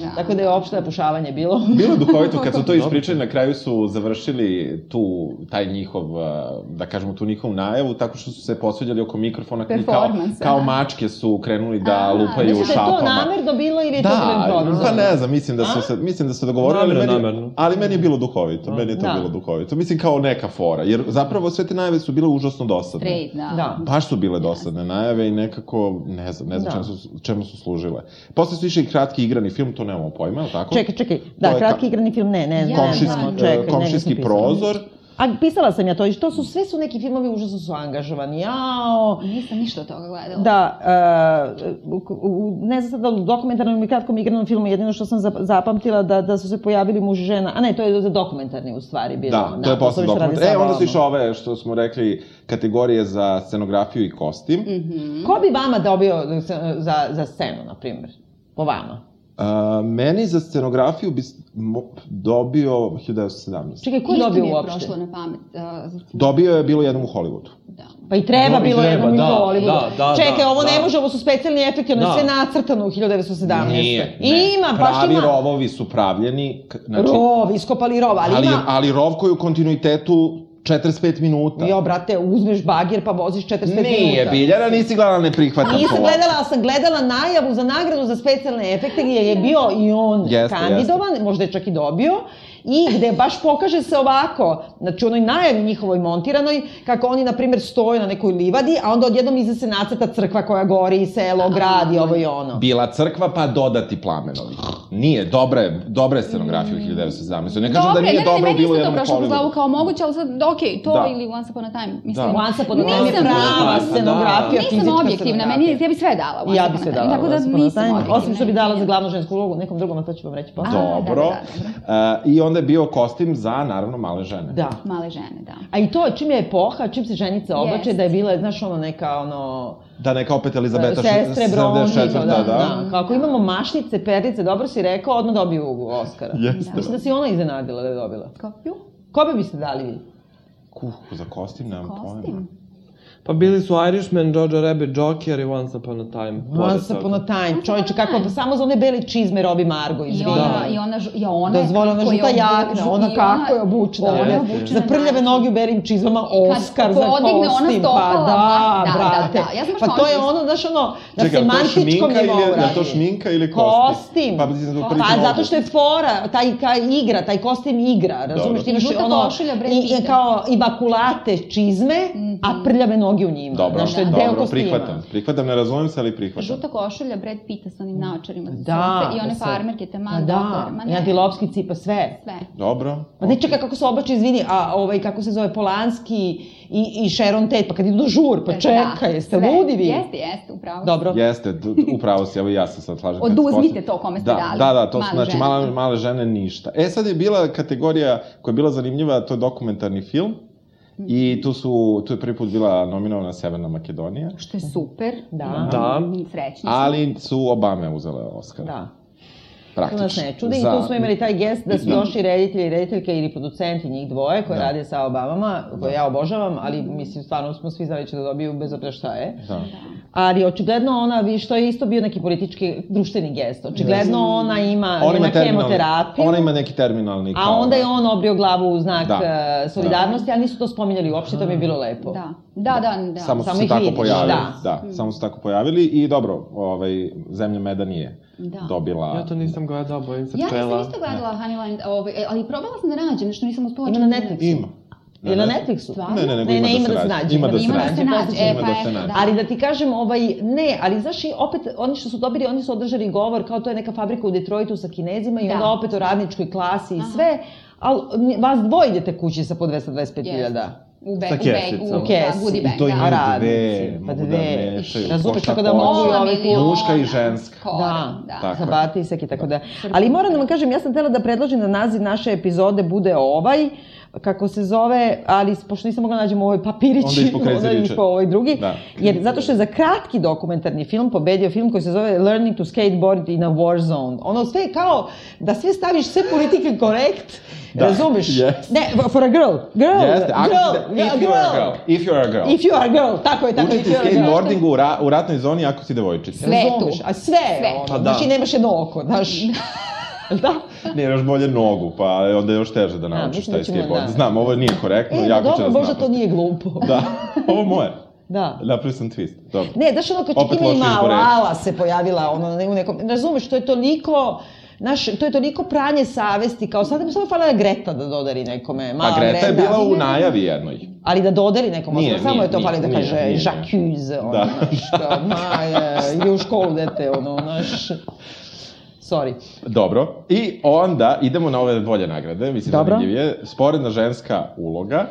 da. tako da je opšte napušavanje bilo. Bilo je duhovito kad su to ispričali, na kraju su završili tu, taj njihov, a, da kažemo, tu njihovu najavu, tako što su se posveđali oko mikrofona i kao, Performans, kao aha. mačke su krenuli da A, lupaju u Misliš da je to šapama. namerno bilo ili je to bilo Da, pa improvizovano? ne znam, mislim da su se, mislim da su dogovorili, ali Namerno, meni, namerno. ali meni je bilo duhovito, meni je to Da. bilo duhovito. Mislim kao neka fora, jer zapravo sve te najave su bile užasno dosadne. Straight, da. Da. Baš su bile dosadne najave i nekako, ne znam, ne znam Da. čemu, su, čemu su služile. Posle su išli i kratki igrani film, to nemamo pojma, je li tako? Čekaj, čekaj, To da, je kratki ka- igrani film, ne, ne, ne, Ja, Komšijski, znam, da. čekaj, e, ne, komšijski nisam pisala. prozor, A pisala sam ja to, i to su, sve su neki filmovi užasno su angažovani, jao, Nisam ništa od toga gledala. Da, e, u- u- ne znam sada u dokumentarnom i kratkom igranom filmu jedino što sam zap- zapamtila da, da su se pojavili muž i žena, a ne, to je za dokumentarni u stvari bilo. da, to je posle što radi dokumentar. E, sada onda su ono. išle ove, što smo rekli, kategorije za scenografiju i kostim. Mm. Ko bi vama dobio za, za- za scenu, na primjer? Po vama. A, meni za scenografiju bi s- mo- dobio 1917. Čekaj, ko je Ništa dobio mi je uopšte? prošlo na pamet. a, Dobio je bilo jednom u Hollywoodu. da. Pa i treba No, i bilo treba, jednom i to da, Hollywoodu. da, da, Čekaj, da, ovo ne da. može, ovo su specijalni efekti, ono je Da. sve nacrtano u 1917. ne. Ima, baš Pravi ima. rovovi su pravljeni, k- znači, Rov, iskopali rov, ali, ali, ima... ali rov koji je u kontinuitetu 45 minuta. Jo, brate, uzmeš bagir pa voziš 45 da. Nije, minuta. Biljana, nisi gledala, ne prihvatam Nisam to. gledala, ali sam gledala najavu za nagradu za specijalne efekte gdje je bio i on Jeste, kandidovan, možda je čak i dobio, i gde baš pokaže se ovako, znači u onoj najavi njihovoj montiranoj, kako oni, na primjer, stoje na nekoj livadi, a onda odjednom iza se nacrta crkva koja gori, selo, grad i ovo i ono. Bila crkva, pa dodati plamenovi. Nije, dobra je, dobra je scenografija u 1917. Ne kažem Mm. da Dobre, nije ne, ne, dobro meni bilo isto to jednom prošlo po glavu Hollywoodu. kao moguće, ali sad, okej, to Da. ili Once Upon a Time, mislim. Da. Once upon a time je Nisam- prava Da, scenografija, Nisam fizička objektivna, meni, je- scenografija. ja bi sve dala Once Ja Upon bi a se Time, dala. tako da Once Upon a nisam Time, objektivna. Osim što bi dala za ne. glavnu žensku ulogu, nekom drugom, a to ću vam reći posle. A, Dobro. da, E, I onda je bio kostim za, naravno, male žene. Da. Male žene, da. A i to, čim je epoha, čim se ženice oblače, Jest. da je bila, znaš, ono neka, ono, Da, neka opet Elizabeta sestre, bronze, 74. da, da. da. Kako imamo mašnice, perlice, dobro si rekao, odmah dobiju ugu Oscara. Jeste. Mislim da si ona iznenadila da je dobila. Kao, ju, Kome biste dali vi? Kuh, za kostim nemam pojma. kostim. Pa bili su Irishman, Jojo Rabbit, Joker i Once Upon a Time. Pored Once toga. upon a time, čovječe, upon a kako, time. samo za one bele čizme Robi Margo I izvini. ona, Da. i ona, žu- ja ona, Dozvoli, ona kako je žuta obu- jakna, žu- ona i kako je obučena. Ona je Jeste. obučena. Za prljave način. noge u belim čizmama, Oscar za podigne ona kostim, stopala, pa da, da, da, brate. da. Ja sam baš pa to je ponosna. ono, znaš ono, da Čekaj, se je to mantičkom šminka nivou ili je, je to radi. šminka ili kosti? Kostim. Pa, mislim, zbog ovaj? Pa, priče Pa mogu. zato što je fora, taj ka, igra, taj kostim igra, razumeš, Dobro. ti imaš I žuta ono, košulja, bre, i, pita. Mhm. kao imakulate čizme, a prljave noge u njima, Dobro, da, znaš, to je deo dobro, kostima. prihvatam. Prihvatam, ne razumijem se, ali prihvatam. Žuta košulja, Brad Pitta sa onim naočarima za Da, sunce i one da se- farmerke, te Ma male da, doktore, ma i ne, antilopski cipa, sve. sve. Dobro. Ma ne čekaj kako se obače, izvini, a ovaj, kako se zove, Polanski i, i Sharon Tate, pa kad idu do žur, pa Da, čekaj, jeste sve. ludi vi? Jeste, jeste, upravo. Dobro. Jeste, d- d- upravo si, evo i ja se sad slažem. kad si Oduzmite posle- to kome ste da, dali, Da, da, to su, male znači žene. male, male žene ništa. E, sad je bila kategorija koja je bila zanimljiva, to je dokumentarni film. Mhm. I tu, su, tu je prvi put bila nominovana Severna Makedonija, Što je super. Mm, Da. Da. Srećni smo. ali su Obame uzele Oscara, Da. To praktično. nas ne čudi i Znači, Za- tu smo imali taj gest da su Da. došli reditelji i rediteljka ili producenti njih dvoje koji Da. rade sa Obamama, koje ja obožavam, ali mislim stvarno smo svi znali će da dobiju bez obzira šta je. Da. Ali očigledno ona, vi- što je isto bio neki politički, društveni gest, očigledno ona ima, Ona ima, ima terminalni, hemoterapiju, ona ima neki terminalni Da, a kao- onda je on obrio glavu u znak Da. e, solidarnosti, ali nisu to spominjali uopšte, to mi je bilo lepo. Da, da, da. da. Samo, Samo su se ih tako vidiš, pojavili. da. Da, samo su se tako pojavili i dobro, ovaj, Zemlja meda nije Da. dobila... Ja to nisam gledala, bojim se Ja pčela. nisam Da. isto gledala Honeyland, ovaj, e, ali probala sam da nađem, nešto nisam uspela. da Ima na Netflixu. Ima. Je na Netflixu? Stvarno? Ne, ne, nego Ne, ima, ne, ima da se nađe. Ima da se Ima da nađe. se nađe, Posle e, ima pa da se eto, nađe. da. Ali da ti kažem, ovaj, ne, ali znaš, i opet oni što su dobili, oni su održali govor kao to je neka fabrika u Detroitu sa kinezima i Da. onda opet o radničkoj klasi i sve, ali vas dvoje idete kući sa po 225.000. U be, Sa u be, kesicom. u, U kesi. da, goodie bag, I to da. imaju A dve, radnici, pa mogu da dve. mešaju. Razumeš, košta tako da kola. mogu i Pola ovaj miliona. Muška i ženska. Kora, Da, da. Tako sa je. batisek i tako da. Ali moram da vam kažem, ja sam htela da predložim da naziv naše epizode bude ovaj, kako se zove, ali pošto nisam mogla da nađem ovaj papirić, Onda ispod Crazy je Richa. ispod ovaj drugi, Da. jer zato što je za kratki dokumentarni film pobedio film koji se zove Learning to Skateboard in a War Zone. Ono sve je kao da sve staviš sve politike korekt, Da, razumeš? jest. Ne, for a girl, girl, Jeste, ako girl, ste, if you are a girl, if you are a girl. If you are a girl, tako je, tako je. Učiti skateboardingu u, ra, u ratnoj zoni ako si devojčica. Sve tu. Razumeš, a sve, Sve. sve. ono, Pa da. znači nemaš jedno oko, znaš. Jel da? Nije još bolje nogu, pa onda je još teže da naučiš mislim taj da ćemo, skateboard. da. Znam, ovo nije korektno, E, jako da će dobro, nas Bože, to napasti. nije glupo. Da, ovo moje. Da. Napravio sam twist, dobro. Ne, znaš ono kad Opet čak ima i loše izbor mala reči. ala se pojavila ono, u nekom, razumeš, to je toliko, Znaš, to je toliko pranje savesti, kao sada bi samo falila Greta da dodari nekome, mala Pa Greta je bila u najavi jednoj. Ali da dodari nekom Nije, osobu, samo nije, je to nije, fali da nije, kaže nije, nije. žakjuze, ono, Da. znaš, kao, maja, ide u školu dete, ono, znaš, sorry. Dobro. I onda idemo na ove bolje nagrade, mislim Dobro. zanimljivije. Sporedna ženska uloga.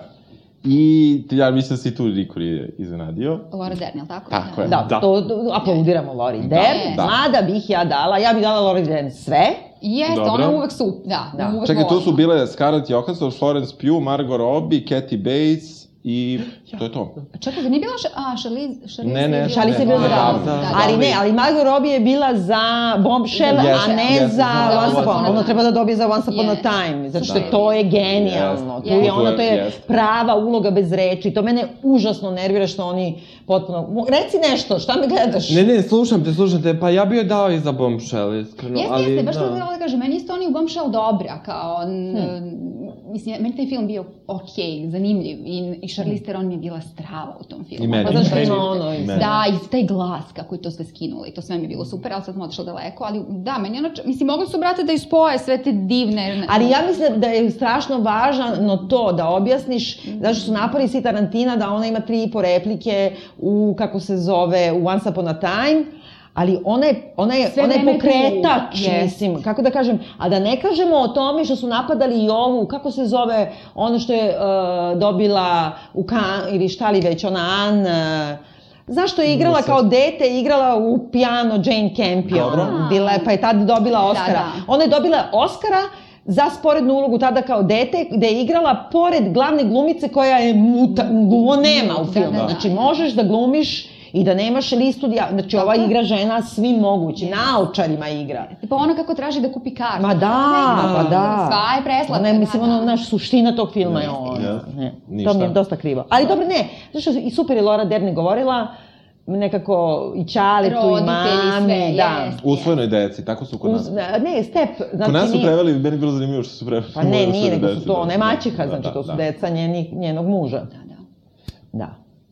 I ti- ja mislim da si tu Riku iznenadio. Laura Dern, jel tako? Tako je. Da, Da. To, to- aplaudiramo Lori Dern, da. mada bih ja dala, ja bih dala Lori Dern sve, Jeste, Dobro. ona uvek su, da, Da. uvek Čekaj, tu su volimo. bile Scarlett Johansson, Florence Pugh, Margot Robbie, Kathy Bates i to je to. Čekaj, zar nije bila ša, a, Charlize, Charlize Ne, ne, je bila- Charlize je bila Da, za da, Downs. da, Da, ali da. ne, ali Margot Robbie je bila za Bombshell, Yes, a ne yes, za za Once Upon a Time. Ona treba da dobije za Once Upon a Yes. Time, zato što Da. to je genijalno. Yes. Tu je Yes. ona, to je Yes. prava uloga bez reči. To mene užasno nervira što oni potpuno... Mo- Reci nešto, šta me gledaš? Ne, ne, slušam te, slušam te, pa ja bi joj dao i za Bombshell, iskreno, Jeste, ali... jeste, baš da. to da kažem, meni isto oni u Bombshell dobra, kao, n, Hm. mislim, meni taj film bio okej, zanimljiv i, i Charlize Hm. Theron mi je bila strava u tom filmu. I meni. Pa Zato znaš, što Meni- ima ono iz- meni. Da, i taj glas kako je to sve skinula i to sve mi je bilo super, ali sad smo otišla daleko, ali da, meni je ono, č- mislim, mogli su, brate, da ispoje sve te divne... Ali ja mislim da je strašno važno to da objasniš, Mhm. zašto su napori svi Tarantina da ona ima tri i po replike u, kako se zove, u Once Upon a Time, ali ona je, ona je, Sve ona je vreme tu, pokretač, jest. mislim, kako da kažem, a da ne kažemo o tome što su napadali i ovu, kako se zove ono što je uh, dobila u kan, ili šta li već, ona An, uh, Znaš što je igrala kao dete, igrala u piano Jane Campion, Dobro. bila je, pa je tad dobila Oscara. da. Pa Ona je dobila Oscara za sporednu ulogu tada kao dete, gde je igrala pored glavne glumice koja je muta, glumo nema u Da, filmu. da, da. Znači, možeš da glumiš i da nemaš listu, dija- znači ova igra žena svim mogućim, naočarima igra. Tipa ona kako traži da kupi kartu. Ma da, Ne, pa da. Sva je preslatka. Ne, mislim, da, ono, da. naš, suština tog filma je Jeste, ona. jeste. Ne, Ništa. to mi je dosta krivo. Da. Ali dobro, ne, znaš što i super je Laura Dern govorila, nekako i čale tu i Roditelji, sve, mami, da. jest. Usvojenoj deci, tako su kod nas. Uz, ne, step, znači Kod nas su nije- preveli, meni je bilo zanimljivo što su preveli. Pa ne, moje nije, usvojene nego su dece, to, da, ona je da, maćeha, da, znači da, to su da. deca njeni, njenog muža. Da, da. Da.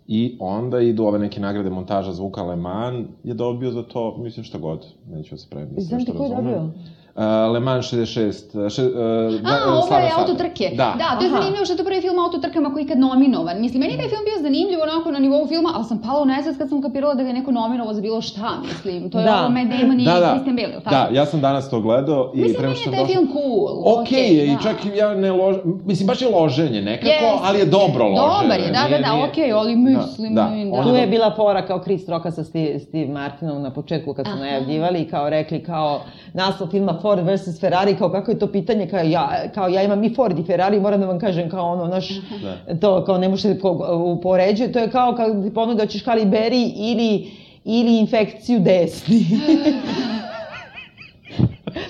I onda idu ove neke nagrade montaža zvuka Le Mans je dobio za to, mislim šta god, neću da se praviti. Znam ti ko je dobio? Uh, Le Mans 66. Uh, še, uh, A, da, ovo Slava je Sada. autotrke. Da. da to je Aha. zanimljivo što je to prvi film o autotrkama koji je ikad nominovan. Mislim, meni je taj film bio zanimljiv onako na nivou filma, ali sam pala u nesvest kad sam kapirala da ga je neko nominovao za bilo šta, mislim. To je Da. ovo Matt Damon i da, da. Christian Bale, ili tako? da, ja sam danas to gledao i Mislim, prema meni što je sam taj došao... film cool. Okej je, i da. čak i ja ne lož... Mislim, baš je loženje nekako, Jest, ali je dobro jest. loženje. Dobar je, da, da, nije- da, nije- okej, ali mislim, Da, da. ona- Tu je bila fora kao Chris Roka sa Steve, Steve Martinom na početku kad su Aha. najavljivali i kao rekli kao naslov filma Ford vs Ferrari kao kako je to pitanje kao ja, kao ja imam i Ford i Ferrari moram da vam kažem kao ono naš Da. to kao ne možete ko, poređuje to je kao kad ti ponude hoćeš Kaliberi ili ili infekciju desni.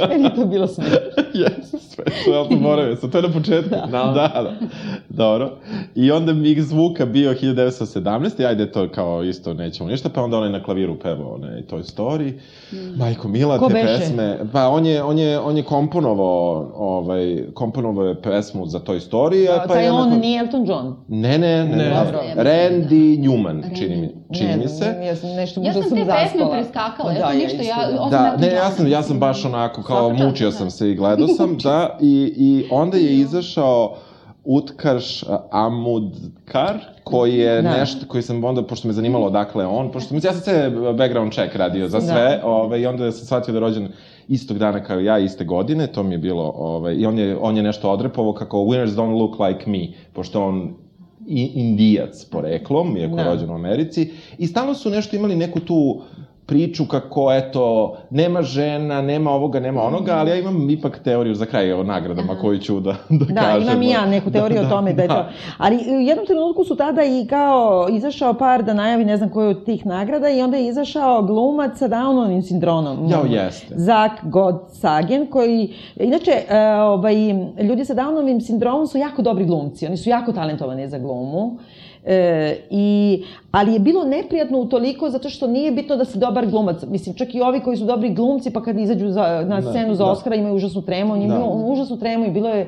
Meni je to bilo smiješno. Jesu, sve to, ja zaboravio sam, to je na početku. Da. da, da. Dobro. I onda mix zvuka bio 1917, ajde to kao isto nećemo ništa, pa onda onaj na klaviru pevao onaj Toy Story. Majko Mila, Ko te beše? pesme. Pa on je, on je, on je komponovao, ovaj, komponovao je pesmu za Toy Story, a pa Da, taj je on onako- nije Elton John. Ne, ne, ne. Ne. ne. Dobro. Randy Newman, čini mi, čini Ne mi znam, se. Ja sam nešto Ja možda sam te zaspala. pesme preskakala, Ma ja sam da, ništa, isto, ja- da. on- Da, Elton ne, John. ja sam, ja sam baš onako kao Svaka čast, mučio sam se i gledao sam, da, i, i onda je izašao Utkarš a, Amudkar, koji je Da. nešto, koji sam onda, pošto me zanimalo odakle je on, pošto, mislim, ja sam se background check radio za sve, ovaj, i onda sam shvatio da je rođen istog dana kao ja, iste godine, to mi je bilo, ovaj, i on je, on je nešto odrepovo kako winners don't look like me, pošto on i, indijac poreklom, iako je Da. rođen u Americi, i stalno su nešto imali neku tu priču kako, eto, nema žena, nema ovoga, nema onoga, ali ja imam ipak teoriju za kraj o nagradama koju ću da, da, Da, kažem. imam i ja neku teoriju o tome da, je to. Ali u jednom trenutku su tada i kao izašao par da najavi ne znam koju od tih nagrada i onda je izašao glumac sa Downovim sindromom. Jao, jeste. Zach Godsagen koji, inače, e, ovaj, ljudi sa Downovim sindromom su jako dobri glumci, oni su jako talentovani za glumu. E, i, ali je bilo neprijatno utoliko zato što nije bitno da si dobar glumac. Mislim, čak i ovi koji su dobri glumci pa kad izađu za, na Da, scenu za da. Oscara imaju užasnu tremu, on je Da. imao užasnu tremu i bilo je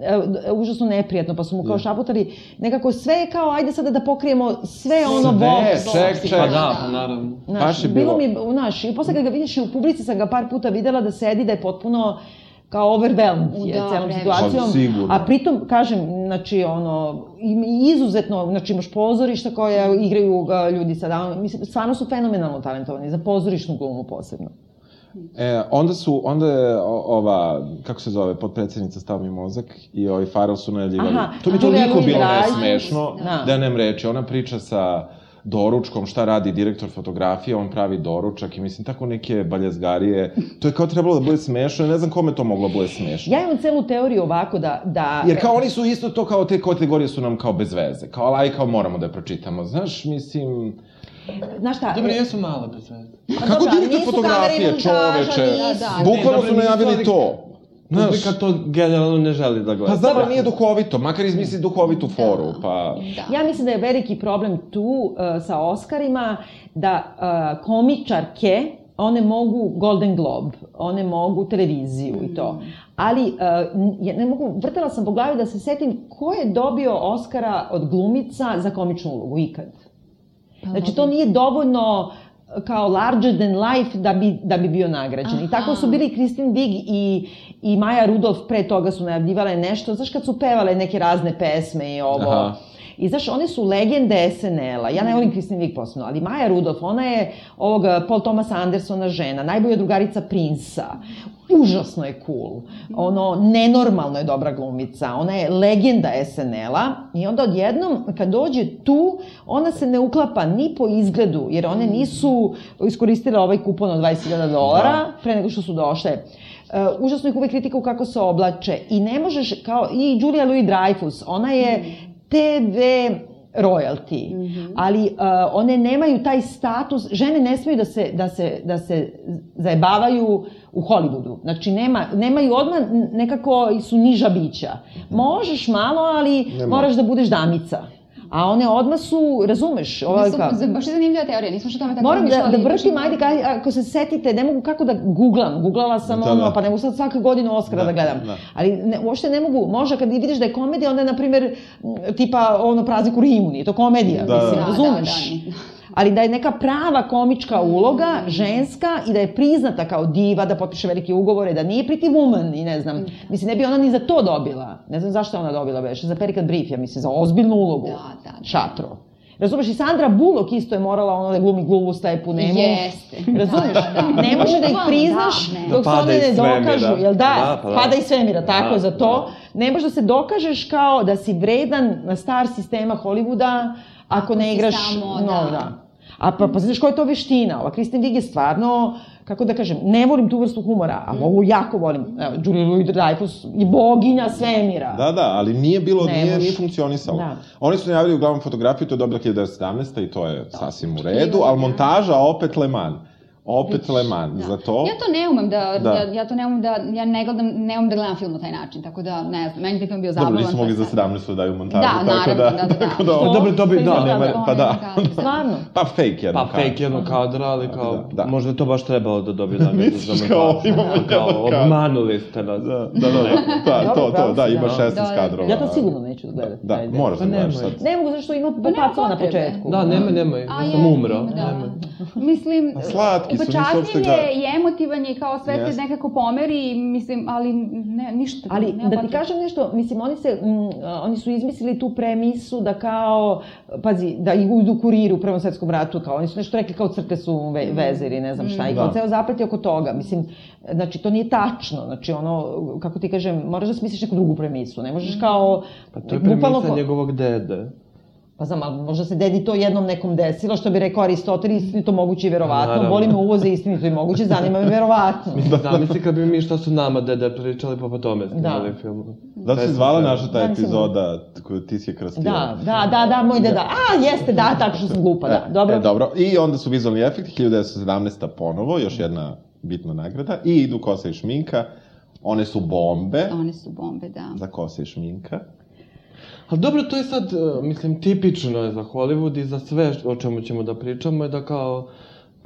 e, d- užasno neprijatno, pa su mu kao šaputari, nekako sve je kao, ajde sada da pokrijemo sve ono Sve, box. ček, ček. Pa da, pa naravno. Znaš, Baš je bilo. bilo- mi, je, znaš, i posle kad ga vidiš i u publici sam ga par puta videla da sedi, da je potpuno kao overwhelmed je Da, celom previše. situacijom. Pa, sigurno. A pritom, kažem, znači, ono, im- izuzetno, znači, imaš pozorišta koja igraju ga ljudi sa Downom. Mislim, stvarno su fenomenalno talentovani, za pozorišnu glumu posebno. E, onda su, onda je o- ova, kako se zove, potpredsednica Stav mi mozak i ovaj Farrell su najavljivali. Aha, to mi je Julia toliko bilo Louis-Dreyfus, nesmešno, da. da. da nem reči. Ona priča sa doručkom, šta radi direktor fotografije, on pravi doručak i mislim tako neke baljezgarije. To je kao trebalo da bude smešno, ja ne znam kome to moglo da bude smešno. Ja imam celu teoriju ovako da... da Jer kao oni su isto to kao te kategorije su nam kao bez veze. Kao ali kao moramo da je pročitamo. Znaš, mislim... Znaš šta, Dobro, jesu male bez veze. Pa kako dobro, ali direktor nisu fotografije, kamere i montaža, čoveče? nisu. Da, da. Bukvalno Ne, su dobro, najavili nisu, to. Znaš, Znaš, to generalno ne želi da gleda. Pa znam, ali nije duhovito, makar izmisli duhovitu foru, pa... Da. Ja mislim da je veliki problem tu uh, sa Oscarima da uh, komičarke one mogu Golden Globe, one mogu televiziju i to. Ali uh, n- ja ne mogu, vrtela sam po glavi da se setim ko je dobio Oscara od glumica za komičnu ulogu ikad. Znači to nije dovoljno uh, kao larger than life da bi, da bi bio nagrađen. I tako su bili Kristin Vig i, i Maja Rudolf pre toga su najavljivale nešto. Znaš kad su pevale neke razne pesme i ovo. Aha. I znaš, one su legende SNL-a. Ja ne volim Kristen Wiig posebno, ali Maja Rudolph, ona je ovog eh, Paul Thomas Andersona žena, najbolja drugarica princa. Užasno je cool. Ono, nenormalno je dobra glumica. Ona je legenda SNL-a i onda odjednom kad dođe tu, ona se ne uklapa ni po izgledu, jer one nisu iskoristile ovaj kupon od 20.000 dolara Da. pre nego što su došle. Uh, užasno ih uvek kritika u kako se oblače i ne možeš, kao i Julia Louis-Dreyfus, ona je TV royalty, ali uh, one nemaju taj status, žene ne smeju da se, da se, da se zajebavaju u Hollywoodu, znači nema, nemaju odmah, nekako su niža bića. Možeš malo, ali Nema. moraš da budeš damica. A one odmah su, razumeš, ovaj kao... Mislim, baš je zanimljiva teorija, nismo što tome tako Moram da, razmišljali, da baš vrtim, je- ajde, kaj, ako se setite, ne mogu kako da googlam, googlala sam Da, ono, da. pa ne mogu sad svake godine Oscara Da, da, gledam. da. Ali ne, uopšte ne mogu, možda kad vidiš da je komedija, onda je, na primjer, m, tipa, ono, praznik u Rimu, nije to komedija, Da, mislim, da. razumeš? Da, da, da. Ali da je neka prava komička uloga, ženska, i da je priznata kao diva, da potpiše velike ugovore, da nije pretty woman i ne Da. znam. Mislim, ne bi ona ni za to dobila. Ne znam zašto je ona dobila već, za Perikan Brief, ja mislim, za ozbiljnu ulogu. Da, da, da. Šatro. Razumeš, i Sandra Bullock isto je morala ono da glumi gluvu slepu, nemu. Jeste. Razumeš? Da, da, da. Ne može da ih Bukvalno, priznaš da, ne. dok se Da pada one ne iz svemira. dokažu, jel da? Da, pa da. Pada iz svemira, tako Da, je za to. Ne možeš da se dokažeš kao da si vredan na star sistema Hollywooda ako ne si igraš samo, no, da. A pa, pa znaš koja je to veština? Ova Kristen Wiig je stvarno, kako da kažem, ne volim tu vrstu humora, Mm. ali ovu jako volim. Evo, Julia Louis-Dreyfus je boginja svemira. Da, da, ali nije bilo, Ne nije, može. nije funkcionisalo. Da. Oni su najavili uglavnom fotografiju, to je dobra 1917. i to je sasvim u redu, ali montaža opet Le Mans. Opet Le Mans, za to... Ja to ne umem da, da. Da. ja to ne umem da, ja ne gledam, ne umem da gledam film na taj način, tako da ne znam, meni bi film bio zabavan. Dobro, nisu pa mogli za sad. 17 da daju montažu, Da, tako naravno, da, da, da. tako da... Pa dobro, to bi- Sve da, izgleda nema- kao- pa da. Stvarno. Pa fake jedno. Pa fake jedno kadra, ali kao, Da, da. možda je to baš trebalo da dobije nagradu za Misliš kao, montažu, imamo da, kao, jedno kadra. Obmanuli ste nas. Da, da, da, da, da, to, to, da, ima 16 Da, da. kadrova. Ja to sigurno neću da gledam. Da, Ajde. moraš Pa da gledaš nemoj. sad. Ne mogu, zašto ima Pa nema popacao na potrebe. početku. Da, nemoj, nemoj, A ja sam ja, umro. Da. Nemoj. Mislim, Pa slatki su, nisu uopšte upečatljiv je ga- i emotivan je i kao sve yes. Jeste. se nekako pomeri, mislim, ali ne, ništa. Ali nema da ti potrebe. kažem nešto, mislim oni se mm, a, oni su izmislili tu premisu da kao pazi da i idu kuriri u Prvom svetskom ratu kao oni su nešto rekli kao crte su Mm. ve, veze ili ne znam šta Mm. i kao Da. ceo zaplet je oko toga. Mislim znači to nije tačno. Znači ono kako ti kažem, moraš da smisliš neku drugu premisu. Ne Mm. možeš kao Pa to je bukvalno premisa ko- njegovog dede. Pa znam, ali možda se dedi to jednom nekom desilo, što bi rekao Aristotel, istinito moguće i verovatno, Naravno. boli me uvoze istinito i moguće, zanima me verovatno. Da. Zamisli kad bi mi šta su nama dede pričali, pa po tome snimali Da. film. Zato se zvala naša ta Da, nisam- epizoda koju ti si je krstila. Da, da, da, da, moj deda, a jeste, da, tako što sam glupa, da, E, dobro. E, dobro. I onda su vizualni efekti, 1917. ponovo, još jedna bitna nagrada. I idu kosa i šminka. One su bombe Mm. One su bombe, da. za kosa i šminka. Ali dobro, to je sad, e, mislim, tipično je za Hollywood i za sve š- o čemu ćemo da pričamo je da kao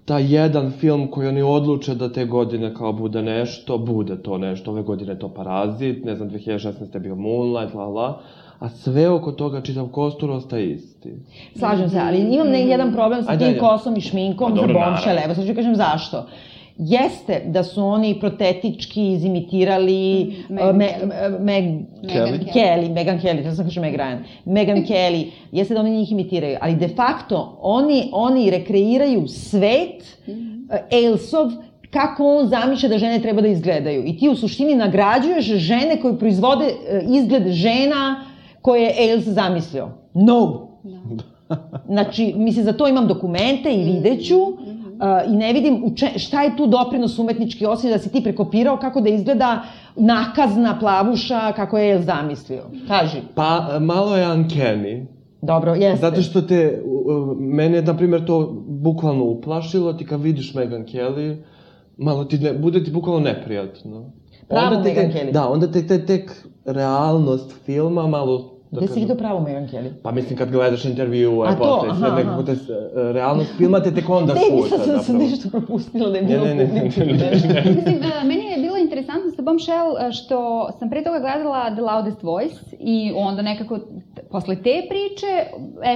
ta jedan film koji oni odluče da te godine kao bude nešto, bude to nešto. Ove godine je to Parazit, ne znam, 2016. je bio Moonlight, la la, a sve oko toga čitav kostur ostaje isti. Slažem se, ali imam ne, jedan problem sa Mhm. Ajde, tim ajde. kosom i šminkom Pa za dobro, bombšele, naravno. evo sad ću kažem zašto. Jeste da su oni protetički izimitirali Mhm. Meghan e, me, Kelly. me, Kelly. Meghan Kelly, Megan Kelly, to sam kažem Meg Ryan, Megan Kelly, jeste da oni njih imitiraju, ali de facto oni, oni rekreiraju svet Mhm. e, Ailsov kako on zamišlja da žene treba da izgledaju. I ti u suštini nagrađuješ žene koje proizvode e, izgled žena koje je Ailes zamislio. No! Znači, mislim, za to imam dokumente i videću a, i ne vidim u če, šta je tu doprinos umetnički osim da si ti prekopirao kako da izgleda nakazna plavuša kako je Ailes zamislio. Kaži. Pa, e, malo je uncanny. Dobro, jeste. Zato što te, u- u- mene, na primjer, to bukvalno uplašilo, ti kad vidiš Megan Kelly, malo ti ne, bude ti bukvalno neprijatno. Pravu te Meghan tek- Kelly. Da, onda te, te tek realnost filma malo... Da Gde si kažem- vidio pravu Megan Kelly? Pa mislim kad gledaš intervjue, A to, posle, sve aha, nekako aha. te s- e, realnost filma te tek onda Ne, skuta mislila sam da sam zapravo. nešto propustila da je Ne, bilo ne, ne, ne, ne, ne, ne. Mislim, e, meni je bilo interesantno sa Bombshell e, što sam pre toga gledala The Loudest Voice i onda nekako t- posle te priče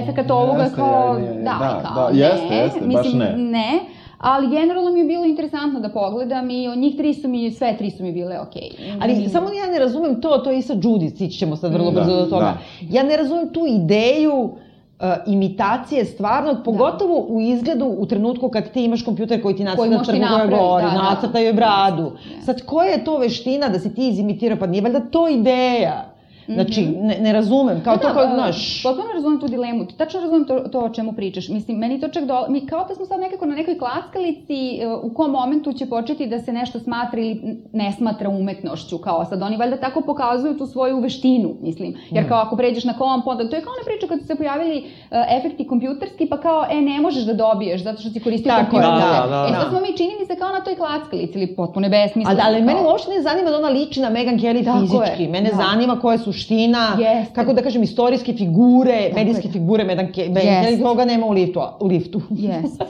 efekat ovoga Jeste, kao ja, ja, ja, da, da, kao da, ne, jeste, jeste, baš mislim, ne. ne. ali generalno mi je bilo interesantno da pogledam i od njih tri su mi, sve tri su mi bile okej. Ali Mhm. samo ja ne razumem to, to je i sa Judy, stići ćemo sad vrlo Mm, brzo da, do toga. da. Ja ne razumem tu ideju uh, imitacije stvarnog, Da. pogotovo u izgledu u trenutku kad ti imaš kompjuter koji ti Koji nacrta možeš ti crnu koja napraviti, gori, da, da. nacrta joj bradu. Yes. Sad, koja je to veština da si ti izimitirao? Pa nije valjda to ideja. Znači, ne, ne razumem, kao Mhm. Pa to da, kao, a, znaš... Potpuno razumem tu dilemu, tačno razumem to, to o čemu pričaš. Mislim, meni to čak dola... Mi kao da smo sad nekako na nekoj klackalici e, u kom momentu će početi da se nešto smatra ili ne smatra umetnošću, kao sad. Oni valjda tako pokazuju tu svoju veštinu, mislim. Mm. Jer kao ako pređeš na komp, onda to je kao ona priča kad su se pojavili e, efekti kompjuterski, pa kao, e, ne možeš da dobiješ zato što si koristio Tako je, kompjuter. da, da, e, da. sad smo mi čini mi se kao na toj klackalici ili potpuno je besmisleno. ali, ali mene kao. uopšte ne zanima da ona liči na Megan Kelly Tako je, fizički. Mene da. zanima koja je suština, Jeste. kako da kažem, istorijske figure, medijske je. figure Megan Kelly. Megan Jeste. Kelly toga nema u liftu. a- U liftu. Jeste.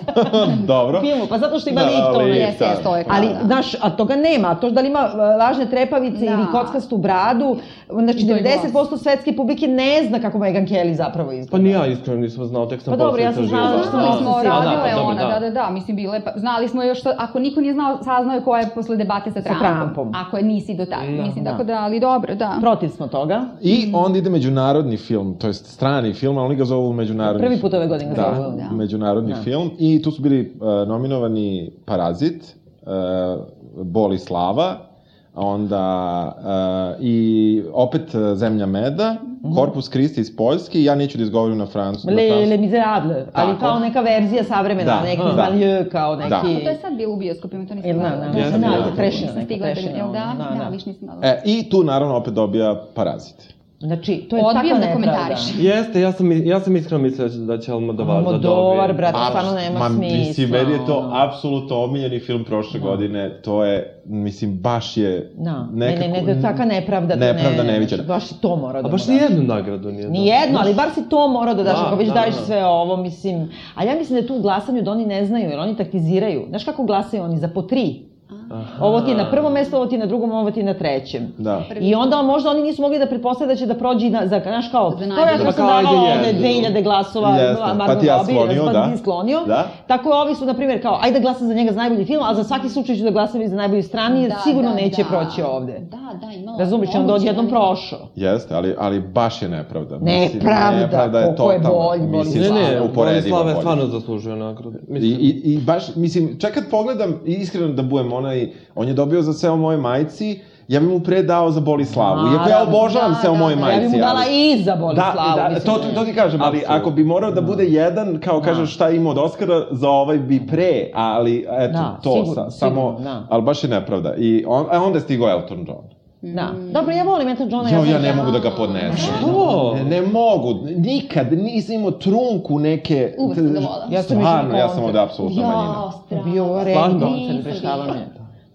Dobro. U filmu, pa zato što ima Da, lift ono. lift. Jeste, jeste, to je kao, Ali, da. znaš, a toga nema. To da li ima e, lažne trepavice Da. ili kockastu bradu, znači I to je 90% svetske publike ne zna kako Megan Kelly zapravo izgleda. Pa ni ja iskreno nismo znao, tek sam Pa dobro, posle ja sam istraživao. znala, Znali smo, Znala sam, Da, da, radila je pa dobro, ona, da, da, da, mislim, bila je, pa, znali smo još, šta, ako niko nije znao, saznao je koja je posle debate sa Trumpom, Trumpom. ako je nisi do tada, Da, mislim, da. tako da, ali dobro, da. Protiv smo toga. I onda ide međunarodni film, to jest strani film, ali oni ga zovu međunarodni Prvi put ove godine ga da, zovu, da. međunarodni film. I tu su bili uh, nominovani Parazit, uh, Bol i slava, a onda uh, i opet uh, Zemlja meda, Korpus Kristi iz Poljske i ja neću da izgovorim na francuskom. Mhm. Le, le Miserable, ali Tako. kao neka verzija savremena, Da, neki da. zmalje, kao neki... Da. A to je sad bilo u bioskopima, to nisam Ili ne, znala. ne, Ja ne, sam bila. ne, trešina Nisam neka, stigla da, trešina. jel da? ono, Da, viš nisam znala. E, I tu naravno opet dobija Parazit. Znači, to je Odbijam tako da nepravda. komentarišem. Jeste, ja sam, ja sam iskreno mislio da će- da će Almodovar da dobije. Almodovar, brate, Apsu- stvarno nema ma, smisla. Mislim, meni je to ono. apsolutno omiljeni film prošle godine, to je, mislim, baš je Da, nekako... ne, ne, ne, taka nepravda, to Nepravda ne, neviđena. znači, baš i to mora da A baš mu ni daš. jednu nagradu nije dobio. Nijedno, ali bar si to morao da daš, Da, ako već da, daješ da. sve ovo, mislim. Ali ja mislim da je tu u glasanju da oni ne znaju, jer oni taktiziraju. Znaš kako glasaju oni? Za po tri. Aha. Ovo ti je na prvom mestu, ovo ti je na drugom, ovo ti je na trećem. Da. I onda možda oni nisu mogli da pretpostavljaju da će da prođe i na, za, znaš kao, Za to ja najbolje. što sam Pa kao, davala ajde one jedno. 2000 glasova, Jasno, Margot pa ti ja Robbie, sklonio, pa da. ti sklonio. Da. Tako ovi su, na primjer, kao, ajde da glasam za njega za najbolji film, a za svaki slučaj ću da glasam i za najbolju strani, jer Da, sigurno da, neće da. proći ovde. Da, da, imala. Razumiješ, onda moguće, odjednom ali- prošao. Jeste, ali, ali baš je nepravda. Nepravda, koliko je totalna. bolj, boli Mislim, Ne, ne, neuporedivo Borislava je bolje. stvarno zaslužio nagradu. I, Mislim, i, I baš, mislim, čak kad pogledam, i iskreno da budem onaj, on je dobio za sve o mojoj majci, ja bi mu pre dao za boli slavu. Iako ja Naravno, obožavam da, sve o da, mojoj da, ja majci. Ja bi mu dala ali- i za Bolislavu. Da, da, mislim, to, to ti kažem, ali Apsolutno. ako bi morao da bude jedan, kao kažeš šta ima od Oscara, za ovaj bi pre, ali eto, Da, to sigurno, sa, sigurno, samo, da. ali baš je nepravda. I on, a onda je stigao Elton John. Da. Dobro, ja volim Elton Johna. Jo, ja sam- ne mogu da ga podnesem. Što? Ne, ne mogu, nikad nisam imao trunku neke... Uvek sam ga volela. Ja sam išla Stvarno, na ja sam koncert. ovde apsolutna manjina. Jao, strava. Bio je Stvarno? redni koncert, Nisam preštavam bila. je.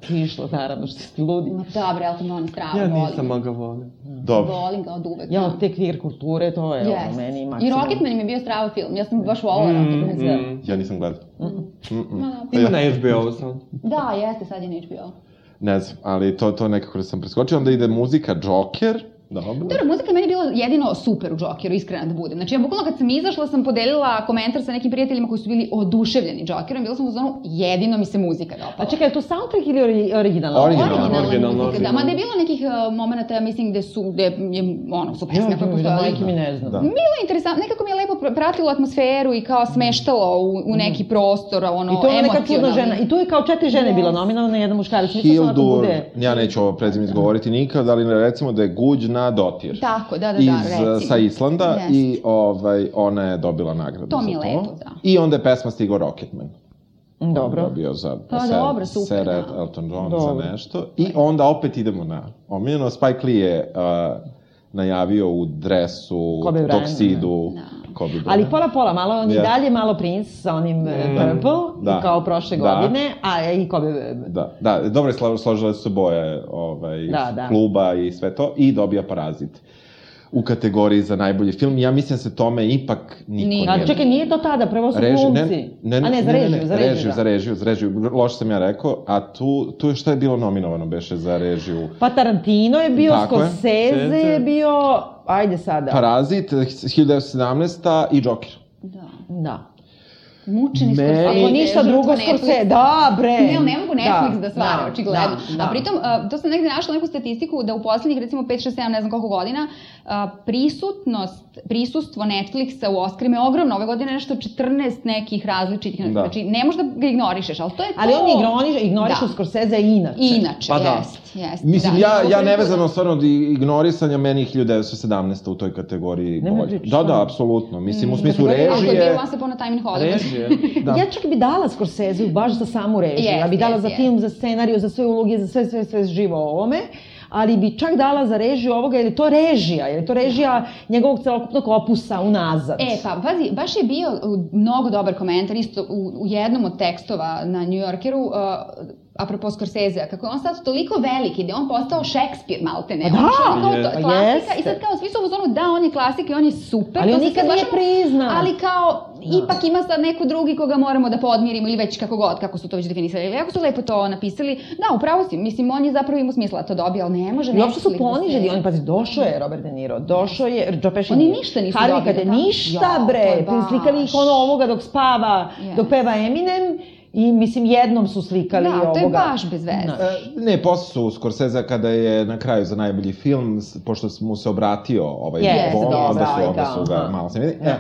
Ti išla, naravno, što ste ludi. Ma dobro, Elton John je strava, Ja volim. nisam, a ga volim. Dobro. Volim ga od uvek. Da. Ja, te kvir kulture, to je yes. Yes. ono, meni I maksimum. Rocketman im je bio strava film, ja sam baš volala Rocketman. Mm. Ja nisam gledao. Ma, da. E, Ima na HBO-u sam. Da, jeste, sad je HBO. Ne znam, ali to, to nekako da sam preskočio. Onda ide muzika Joker. Dobro. Dobro, muzika je meni bila jedino super u Jokeru, iskrena da budem. Znači, ja bukvalno kad sam izašla sam podelila komentar sa nekim prijateljima koji su bili oduševljeni Jokerom. Bila sam u zonu, jedino mi se muzika dopala. A čekaj, je to soundtrack ili ori- originalna? Originalna. Originalna Originalna, muzika, da, originalna. mada je bilo nekih uh, momenta, ja mislim, gde su, gde je, ono, su pesme koje Ja, postojali. majke mi ne znam. Da. Bilo je interesantno, nekako mi je lepo pr- pratilo atmosferu i kao smeštalo u, u neki prostor, ono, Mhm. I to je ona neka čudna emocionalni. žena. I tu je kao četiri žene Yes. bila nominovana, jedan muškarac. Mislim sam da to Hildur, bude... ja neću ovo prezime izgovoriti nikad, ali recimo da je Guđ na dotir. Tako, da, da, da, iz, recimo. sa Islanda Jeste. i ovaj, ona je dobila nagradu To mi je za to. lepo, da. I onda je pesma stigao Rocketman. Dobro. Dobio za Pa Sir, dobro, super, Sir da. Ed- Elton John Dobro. za nešto. I onda opet idemo na omiljeno. Spike Lee je uh, najavio u dresu, Kobe Bryant, toksidu, Da. Kobe Bryant. Ali pola pola, malo je on i Yes. dalje, malo Prince sa onim mm. Purple, Da. kao prošle Da. godine, a i Kobe Da, da, dobro je slo- složile su se boje ovaj, Da, da. kluba i sve to i dobija Parazit u kategoriji za najbolji film. Ja mislim da se tome ipak niko Ni- nije... A čekaj, nije to tada, prvo su Reži- glumci. ne, ne, ne, A ne, ne, za režiju, ne, ne, za režiju, da. za režiju, za režiju, loše sam ja rekao, a tu, tu je šta je bilo nominovano beše za režiju? Pa Tarantino je bio, Tako je. Scorsese je. Scorsese. bio, ajde sada. Parazit, eh, 1917 i Joker. Da. Da. mučeni Me- Scorsese. Ako ništa E, žrtva drugo, Netflixa. Scorsese, da, bre. Ne, ali ne mogu Netflix da, stvara, da, očigledno. da, A pritom, a, to sam negde našla neku statistiku da u poslednjih, recimo 5, 6, 7, ne znam koliko godina, a, prisutnost, prisustvo Netflixa u Oscarima je ogromno. Ove godine je nešto 14 nekih različitih, Da. znači ne možeš da ga ignorišeš, ali to je to. Ali on ignoriš, ignoriš Da. da. Scorsese inače. Inače, Pa da. jest, jest. Mislim, da. ja, ja Ogromno. nevezano stvarno od ignorisanja, meni je 1917 u toj kategoriji Ne bolje. Da, pričaš, stvarno. da, apsolutno. Mislim, u Mm, smislu kategorija- Ako je režije... bio Once Upon a Time in Hollywood. Režije. Da. Ja čak bi dala Scorsese baš za samu režiju. Jest, ja bi dala jest, za jest. film, za scenariju, za sve uloge, za sve, sve, sve živo o ovome. Ali bi čak dala za režiju ovoga, jer je to režija, jer je to režija njegovog celokupnog opusa unazad. Da. E, pa, pazi, baš je bio uh, mnogo dobar komentar, isto u, u jednom od tekstova na New Yorkeru, uh, apropo Scorsese, kako je on sad toliko veliki, da je on postao Shakespeare, malte ne. Pa on je da! on kao Jeste. to- klasika, Jeste. i sad kao svi su u zonu, da, on je klasika i on je super. ali to on se nikad sad nije Da. slažemo, priznat. Ali kao, ipak ima sad neko drugi koga moramo da podmirimo ili već kako god, kako su to već definisali. Jako su lepo to napisali. Da, upravo si, mislim, on je zapravo imao smisla da to dobije, ali ne može. I ne uopšte su može da se- poniženi, oni, pazi, došao je Robert De Niro, došao je, Joe Pesci Oni nije. ništa nisu Harvey dobili, kad je da. ništa, Jao, to je bre, pa baš. slikali ih ono ovoga dok spava, Yes. dok peva Eminem, i mislim jednom su slikali Da, ovoga. to je baš bez veze. Da. E, Ne, posle su Scorsese kada je na kraju za najbolji film, s- pošto mu se obratio ovaj Jeste, Bond, dobro, da. onda su, ajde, onda su ga aha. malo sam vidi. E, Ja.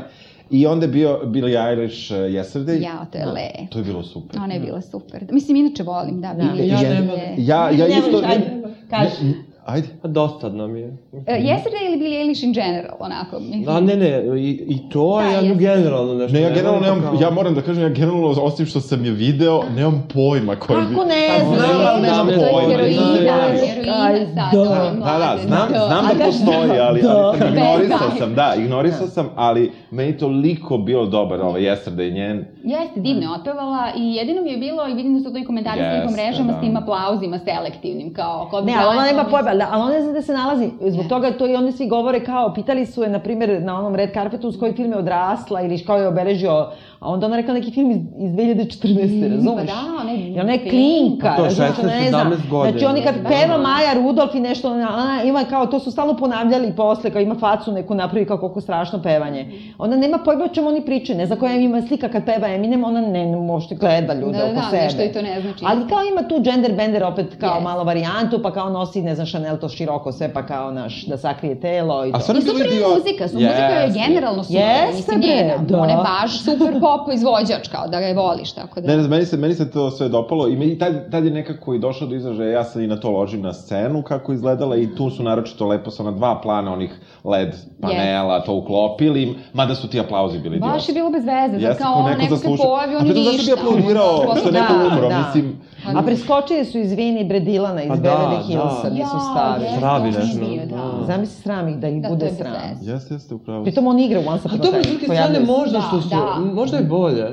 I onda je bio Billie Eilish e, Yesterday. Jao, to je lepo. To je bilo super. Ona je bila super. Mislim, inače volim, da, Billie Ja Jean ne je- volim. Ja, ja Ne, isto... možeš, ajde, kaži. Ne, Ajde. Pa dosadno mi je. E, Yesterday ili Billie Eilish in general, onako. mislim. Da, ne, ne, i, i to Da, je ja nju jeste. generalno nešto. Ne, ja generalno volim, nemam, kao- ja moram da kažem, ja generalno, osim što sam je video, nemam pojma koji bi... Kako ne Pa Da, znaš? znam, ali nemam To je pojma, heroina, znam, da, znam. heroina, sad, Da. ove mlade, Da, da, znam, da. znam Ali da kažem, postoji, ali, da. ali sam ignorisao Da. sam, da, ignorisao sam, ali meni je toliko bio dobar ovaj Yesterday njen. Jeste, divno je otpevala i jedino mi je bilo, i vidim da su to i komentari yes, Jeste, nekim mrežama da. s tim aplauzima selektivnim, kao... Ko bi Ne, ali ona zajedno- nema pojma, da, ali ona ne zna gde se nalazi. Zbog Ne. toga to i oni svi govore kao, pitali su je, na primjer, na onom red carpetu s koji film je odrasla ili kao je obeležio, a onda ona rekla neki film iz, iz 2014. razumeš? Pa da, ona je... I ona je klinka, Pa to je razumiješ, ona 16, ne zna. 17 godina. Znači oni kad Da. peva Maja Rudolf i nešto, ona, ona ima kao, to su stalno ponavljali posle, kao ima facu neku napravi kao koliko strašno pevanje. Ona nema pojma o čemu oni pričaju, ne zna koja ima slika kad peva Eminem, ona ne, ne možete gleda ljude Da, da, oko da, sebe. nešto i to ne znači. Ali kao ima tu gender bender opet kao Yes. malo varijantu, pa kao nosi, ne znam, Chanel to široko sve, pa kao naš, da sakrije telo i to. stvarno I super je muzika, su, muzika je Jeste. generalno super, Jeste, mislim bre, njena, da. ona je baš super pop izvođač, kao da ga je voliš, tako da... Ne, ne, meni se, meni se to sve dopalo i meni, tad, tad je nekako i došao do izražaja, ja se i na to ložim na scenu kako je izgledala i tu su naročito lepo sa ona dva plana onih LED panela, to uklopili, mada su ti aplauzi bili Baš idiotski. je bilo bez veze, znači Jeste, kao ko ono neko neko se zaslušao. pojavi, A on je pritom ništa. zašto bi aplaudirao ono, što je da. neko umro, mislim. A preskočili su, izvini, bre Dilana iz Pa da, Beverly Hillsa, da. nisu Jao, stari. jeste, Stravično, on je bio, da. da. Zamisli sram ih da ih Da, to bude je bez sram. veze. Jeste, jeste, upravo. Pritom on igra u Once Upon A a dobro, Time. s druge pojavljuje strane se. možda Da, što su, da. možda je bolje.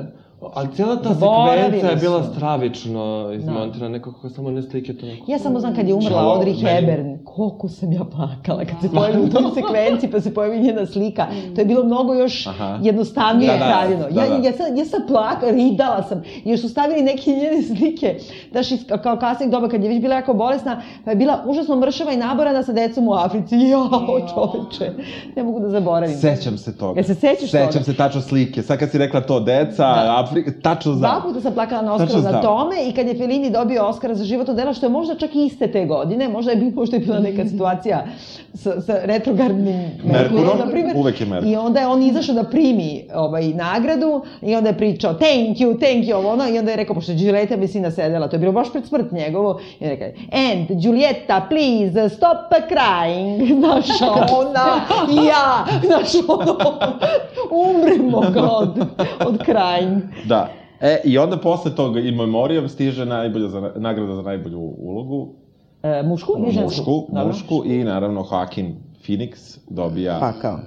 Ali cijela ta Zaboravili sekvenca je bila su. Da. stravično izmontirana, nekako samo ne slike to nekako. Ja samo znam kad je umrla Čao, Audrey meni- Hepburn, koliko sam ja plakala kad se pojavi u toj sekvenciji pa se pojavi njena slika. To je bilo mnogo još Aha. jednostavnije Da, da, pravljeno. da, ja, da. ja, sad, ja sad plaka, ridala sam, jer su stavili neke njene slike, daš iz, kao kasnih doba kad je već bila jako bolesna, pa je bila užasno mršava i naborana sa decom u Africi. Jao, čoveče, ne mogu da zaboravim. Sećam se toga. Jel se sećaš Sećam toga? se tačno slike. Sad kad si rekla to, deca, Afrika, tačno Dva znam. puta da sam plakala na Oscaru Tačno na znam. tome i kad je Fellini dobio Oscara za životno delo, što je možda čak i iste te godine, možda je, bi- možda je bila neka situacija sa, sa retrogradnim Merkurom, na primjer. uvek je Merkur. I onda je on izašao da primi ovaj, nagradu i onda je pričao thank you, thank you, ovo ono, i onda je rekao, pošto je Giulietta Messina sedela, to je bilo baš pred smrt njegovo, i rekao je, and Giulietta, please, stop crying, znaš, a ona i ja, znaš, ono, umremo kao od, od crying. Da. E, i onda posle toga i memorijom stiže najbolja za, nagrada za najbolju ulogu, E, mušku ili žensku? mušku, Dobro. mušku i naravno Joaquin Phoenix dobija... Pa kao.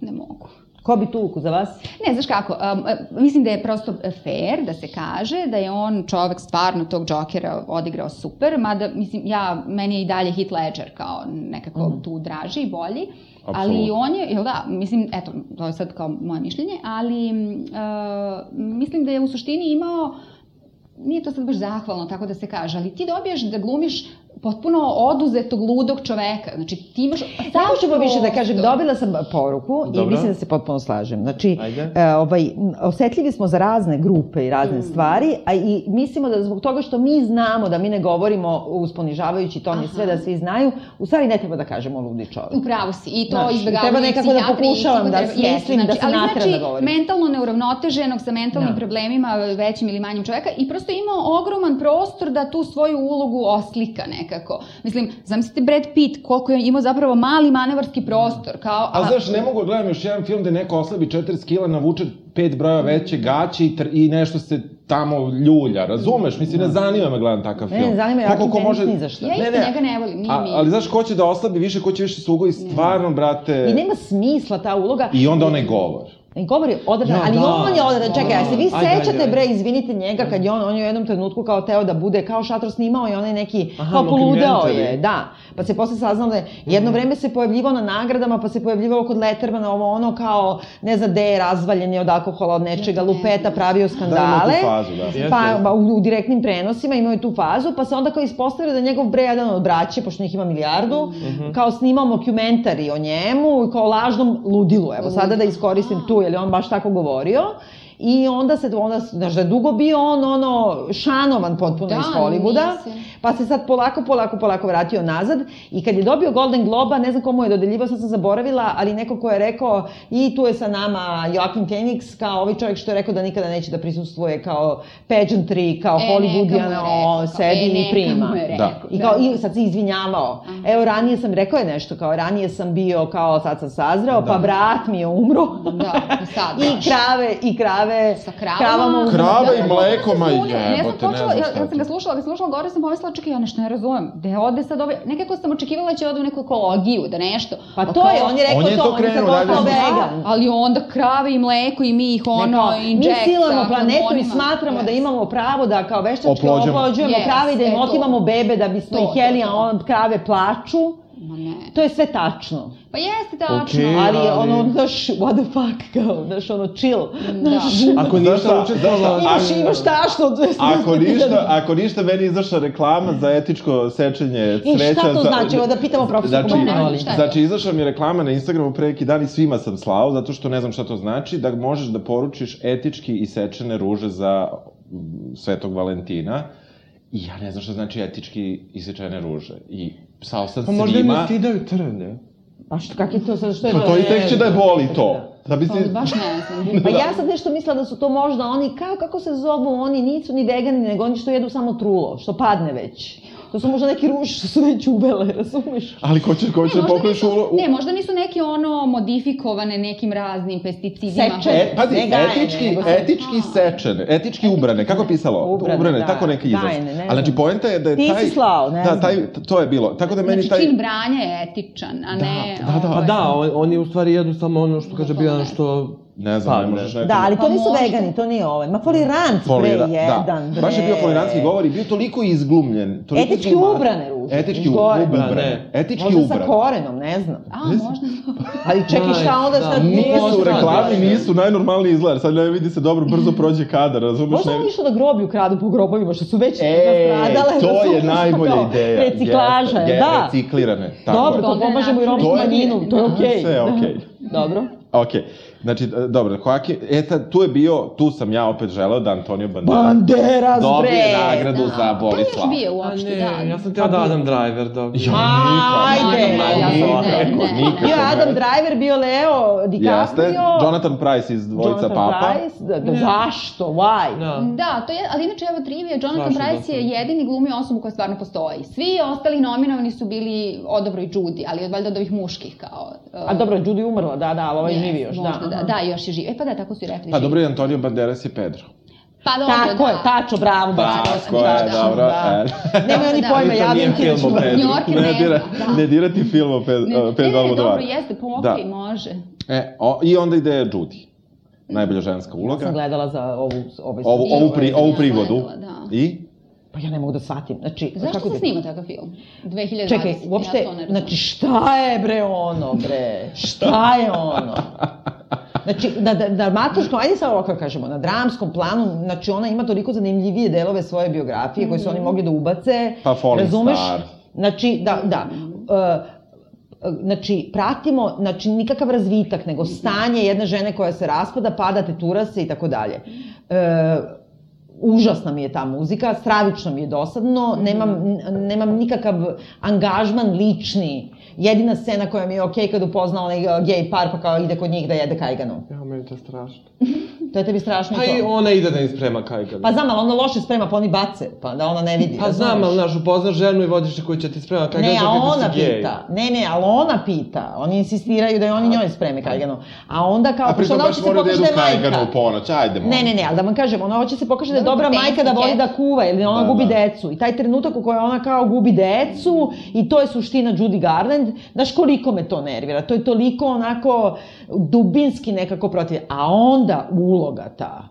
Ne mogu. Ko bi tu za vas? Ne, znaš kako, um, e, mislim da je prosto fair da se kaže da je on čovek stvarno tog Jokera odigrao super, mada, mislim, ja, meni je i dalje Heath Ledger kao nekako Mhm. tu draži i bolji, ali Apsolutno. on je, jel da, mislim, eto, to je sad kao moje mišljenje, ali mm, e, mislim da je u suštini imao nije to sad baš zahvalno, tako da se kaže, ali ti dobiješ da glumiš potpuno oduzetog, ludog čoveka. Znači, ti imaš... Samo ću Sad više da kažem, prosto. dobila sam poruku i Dobro. mislim da se potpuno slažem. Znači, Ajde. e, ovaj, m, osetljivi smo za razne grupe i razne stvari, a i mislimo da zbog toga što mi znamo da mi ne govorimo uz ponižavajući ton i sve da svi znaju, u stvari ne treba da kažemo ludi čovjek. U pravu si, i to Znaš, izbjegavaju treba nekako da psihijatri i pokušavam da psihoterape- smislim, Jeste, da se ali nateram da znači, govorim. mentalno neuravnoteženog sa mentalnim Da. problemima većim ili manjim čoveka i prosto imao ogroman prostor da tu svoju ulogu oslika nekako. Mislim, zamislite Brad Pitt, koliko je imao zapravo mali manevarski prostor, kao... A znaš, ne mogu da gledam još jedan film gde neko oslabi 40 kila, navuče pet broja veće gaće i, tr- i nešto se tamo ljulja, razumeš? Mislim, ne zanima me gledam takav Da. Ne, film. ne zanima, ja Koliko kim ko tenis ni za šta. Ja isto ne. njega ne volim, nije A, mi. ali znaš, ko će da oslabi više, ko će više sugo i stvarno, brate... I nema smisla ta uloga. I onda onaj govor. I govori odradan, Ja, ali da. on je odradan, čekaj, a se vi Ajde, ajde, sećate ajde. bre, izvinite njega, kad je on, on je u jednom trenutku kao teo da bude, kao šator snimao i onaj neki, Aha, Mhm. kao poludeo mockumentary. je, da. Pa se posle saznalo da je, jedno vreme se pojavljivao na nagradama, pa se pojavljivao kod Lettermana, ovo ono kao, ne znam, gde je razvaljen je od alkohola, od nečega, Ne znam. lupeta, pravio Da, ima skandale. tu fazu, da. Jeste, Pa, jeste. ba, u, u direktnim prenosima imao je tu fazu, pa se onda kao ispostavio da je njegov bre jedan od braće, pošto njih ima milijardu, kao snimao mockumentary o njemu, kao lažnom ludilu, evo sada da iskoristim tu, jer je on baš tako govorio. I onda se, onda, znaš da je dugo bio on ono šanovan potpuno Da, iz Hollywooda, nije se. pa se sad polako, polako, polako vratio nazad i kad je dobio Golden Globa, ne znam komu je dodeljivao, sad sam zaboravila, ali neko ko je rekao i tu je sa nama Joaquin Phoenix, kao ovaj čovjek što je rekao da nikada neće da prisustvuje kao pageantry, E, neka kao mu je Hollywoodian, o, rekao, sedi e, i neka prima. mu je rekao, Da. I, kao, I sad se izvinjavao. Evo, ranije sam rekao je nešto, kao ranije sam bio, kao sad sam sazrao, Da. pa brat mi je umro. Da, i sad, I znaš. krave, i krave. Da. sa kravama. mu umrla. Krava i Ja sam mleko, potpuno ma se zbunila, jebote, ne znam ja sam počela- ja- šta Ja ti. sam ga slušala, ga slušala gore, sam pomislila, čekaj, ja nešto ne razumem. Gde ode sad ovaj, nekako sam očekivala da će ode u neku ekologiju, da nešto. Pa to je, on je rekao On je to, to on je sad krenuo, da, postao da. vegan. Ali onda krave i mleko i mi ih ono, Ono, mi injekta. silamo planetu i hormonima. smatramo da Yes. imamo pravo da kao veštački Oplođujemo. oplođujemo Yes, krave i da im e, to. otimamo bebe da bismo To, ih jeli, to, to. a on krave plaču. Ma ne. To je sve tačno. Pa jeste tačno. Okej. Ali, ali- ono, znaš, what the fuck, kao, znaš, ono, chill. Da. Znaš, Ako Znaš ništa šta, učestvovala... znaš šta, imaš, imaš Da, tašno. od 200 da, Ako hiljada. ništa, ako ništa, meni je izašla reklama za etičko sečenje I cveća. E, šta to za- znači? Evo da pitamo profesorku Znači, Bobanoli. Šta je to? znači izašla mi je reklama na Instagramu pre neki dan i svima sam slao, zato što ne znam šta to znači, da možeš da poručiš etički isečene ruže za mm, Svetog Valentina. I ja ne znam šta znači etički isečene ruže. I sao sam Pa možda im svima, ne skidaju trne. Pa što, kak je to sad, što je pa to i tek će da je boli Da. to. Da bi si... Pa baš ne Da znam. Pa ja sad nešto mislila da su to možda oni, kao, kako se zovu, oni nisu ni vegani, nego oni što jedu samo trulo, što padne već. To su možda neki ruži što su već uvele, razumeš? Ali ko će, ko će Ne, da možda pokriješ nisu, ulo... u- ne, možda nisu neke ono modifikovane nekim raznim pesticidima. Seče. E, pazi, Ne gajene, etički, nego se- etički sečene, etički ubrane, kako je pisalo? Ubrane, Ubrane, da, tako neki izraz. gajene, ne znam. A znači, poenta je da je Ti si taj... slao, ne znam. Da, taj, to je bilo. Tako da meni Znači, taj... čin branja je etičan, a ne... da, ovaj- da, ovo Pa je- da, on- oni u stvari jedu samo ono što kaže Bukvalno Biljana ne. što... Ne znam, ne padne. možeš nekako... Da, ali to Pa nisu možda. vegani, to nije ovaj. Ma folirant, bre, Folira- jedan, da. bre. Baš je bio foliranski govor i bio toliko izglumljen. Toliko Etički izgluman. ubrane ruže, Etički iz gore. ubrane. Ubrane. Etički Možda sa ubrane. korenom, ne znam. A, ovaj- možda. Ali čekaj, šta onda Da, šta ti... Nisu u Možda, reklami, da. nisu najnormalniji izgled. Sad ne vidi se dobro, brzo prođe kadar, razumeš? Možda Ne... oni išli na groblju, kradu po grobovima, što su već E, nastradale. to da je razumeš, najbolja kao, ideja. Reciklaža, Jeste, je, da. Reciklirane. tako Dobro, je. to Dobra pomažemo i način. romsku To je- manjinu, to je okej. Sve je okej. Dobro. Ok, znači, e, dobro, Joaquin, e, ta, tu je bio, tu sam ja opet želeo da Antonio Banderas Banderas, dobije bre! nagradu Da. za Ko je još Borislava. bio A uopšte, da. ne, ja sam teo da Adam Driver dobije. Ja, Ajde, nikako, ja sam- nikako, ne, ne. nikako, Bio Adam ne. Driver, bio Leo DiCaprio. Jeste, Jonathan Price iz Dvojica Jonathan Papa. Price, da, da, zašto, why? Da. Mhm. Da, to je, ali inače evo trivia, Jonathan Strašno Price je dosta. jedini glumio osobu koja stvarno postoji. Svi ostali nominovani su bili Odobro i Judy, ali od valjda od ovih muških kao. uh, A dobro, Judy je umrla, da, da, ali ovaj Yes, živi još, da. možda Da, da, još je živ. E pa da, tako su i rekli. Pa živ. dobro, i Antonio Banderas je Pedro. Pa dobro, Tako da. je, tačno, bravo, baš. Tako je, da, dobro. da. e. Nemaju oni Da. pojma, znači, To Ali ja nije bih ti film o Pedru. Njork je Ne ne dira- zna, da. Ne dirati film o Pedru. Ne, ne, Pedro ne, Almodovar. dobro, jeste, po Da. okej, može. E, o, I onda ide Judy. Najbolja ženska uloga. sam gledala za ovu, ovaj Ovu, snimku. ovu, pri, Nisam ovu ja prigodu. gledala, da. I? Pa ja ne mogu da shvatim, znači... Zašto kako se da- snima takav film? 2020. Čekaj, uopšte, ja to ne razumem. znači šta je bre ono bre, šta je ono? Znači, na, na dramaturskom, ajde sad ovako da kažemo, na dramskom planu, znači ona ima toliko zanimljivije delove svoje biografije koje su oni mogli da ubace. Mhm. Pa Falling razumeš? Star. Znači, da, da. Mhm. E, znači, pratimo, znači, nikakav razvitak, Mhm. nego stanje jedne žene koja se raspada, pada, tetura se i tako dalje. E, Užasna mi je ta muzika, stravično mi je Mhm. dosadno, nemam, n- nemam nikakav angažman lični. Jedina scena koja mi je okej kad upozna onaj e, gej par pa kao ide kod njih da jede kajganu. Ja, meni to je strašno. To je tebi strašno Pa i to. ona ide da im sprema kajgan. Pa znam, ali ona loše sprema, pa oni bace, pa da ona ne vidi. Pa razumeš? znam, ali znaš, upoznaš ženu i vodiš je kuće, ti sprema kajgan, Ne, a čak i da ona si gej. pita. Ne, ne, ali ona pita. Oni insistiraju da je oni njoj spreme kajganu. A onda kao, A pošto pritom ona baš hoće se moraju da pokaže jedu da je kajganu u majka. ponoć, ajde molim. Ne, ne, ne, ali da vam kažem, ona hoće se pokaže da je Dobro, dobra fancy majka da voli cat. da kuva, jer ona Da, gubi da. decu. I taj trenutak u kojem ona kao gubi decu, i to je suština Judy Garland, znaš koliko me to nervira, to je toliko onako dubinski nekako protiv. A onda uloga ta,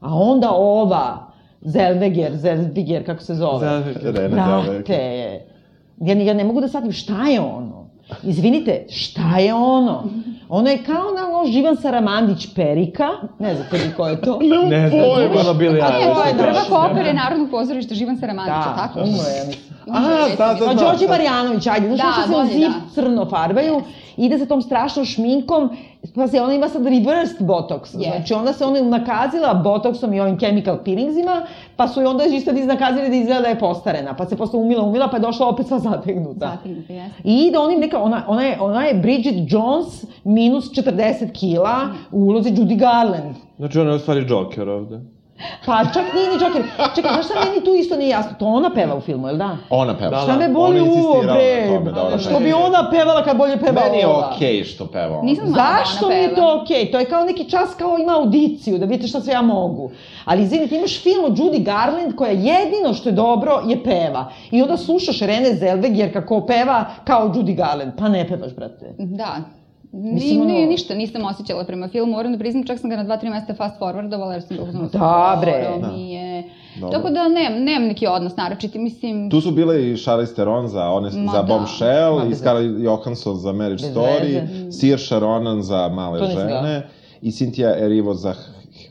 a onda ova, Zelveger, Zelveger, kako se zove? Zavisno. Rene Brate, Zellweger. Da, ja, ne- ja ne mogu da shvatim šta je ono. Izvinite, šta je ono? Ono je kao na ono Živan Saramandić perika, ne znam tebi ko je to. Ne znam, Pojma. ono bili ja. Ne, to da je ovaj prva naš, kopere Narodnog pozorišta Živan Saramandić, Da, je tako? umro je, ja mislim. Umro je, A, recimo. da, da, Pa da. Đorđe Marjanović, ajde, znaš Da, da, što se bolje, on zip da. crno farbaju, ide sa tom strašnom šminkom, pa se ona ima sad reversed botox, Yes. znači onda se ona nakazila botoksom i ovim chemical peelingzima, pa su i onda isto iznakazili da izgleda da je postarena, pa se posle umila, umila, pa je došla opet sva Da. zategnuta. Zategnuta, jeste. I ide onim neka, ona, ona, je, ona je Bridget Jones minus 40 kila u ulozi Judy Garland. Znači, ona je u stvari Joker ovde. Pa čak nije ni Joker. Čekaj, znaš šta meni tu isto nije jasno? To ona peva u filmu, jel da? Ona peva. Da, Šta me Ona boli je uvo, insistirala bre? na tome da ona što peva. bi ona pevala kad bolje peva Meni je ova? okej što peva ona. Nisam znala da ona Zašto mi je peva. to okej? To je kao neki čas kao ima audiciju, da vidite šta sve ja mogu. Ali izvini, ti imaš film o Judy Garland koja jedino što je dobro je peva. I onda slušaš Rene Zellweger kako peva kao Judy Garland. Pa ne pevaš, brate. Da. Ni, Mislim, ono- ni, ništa nisam osjećala prema filmu, moram da priznam, čak sam ga na dva, tri mesta fast forwardovala jer sam bilo uzmano Da, bre. Da. Nije... Dobro. Tako da nemam, nemam neki odnos naročiti, mislim... Tu su bile i Charlize Theron za, one, Ma za da. Bombshell, Ma i bez Scarlett Johansson za Marriage Bez Story, veze. Saoirse Ronan za Male To nisam gledala. žene i Cynthia Erivo za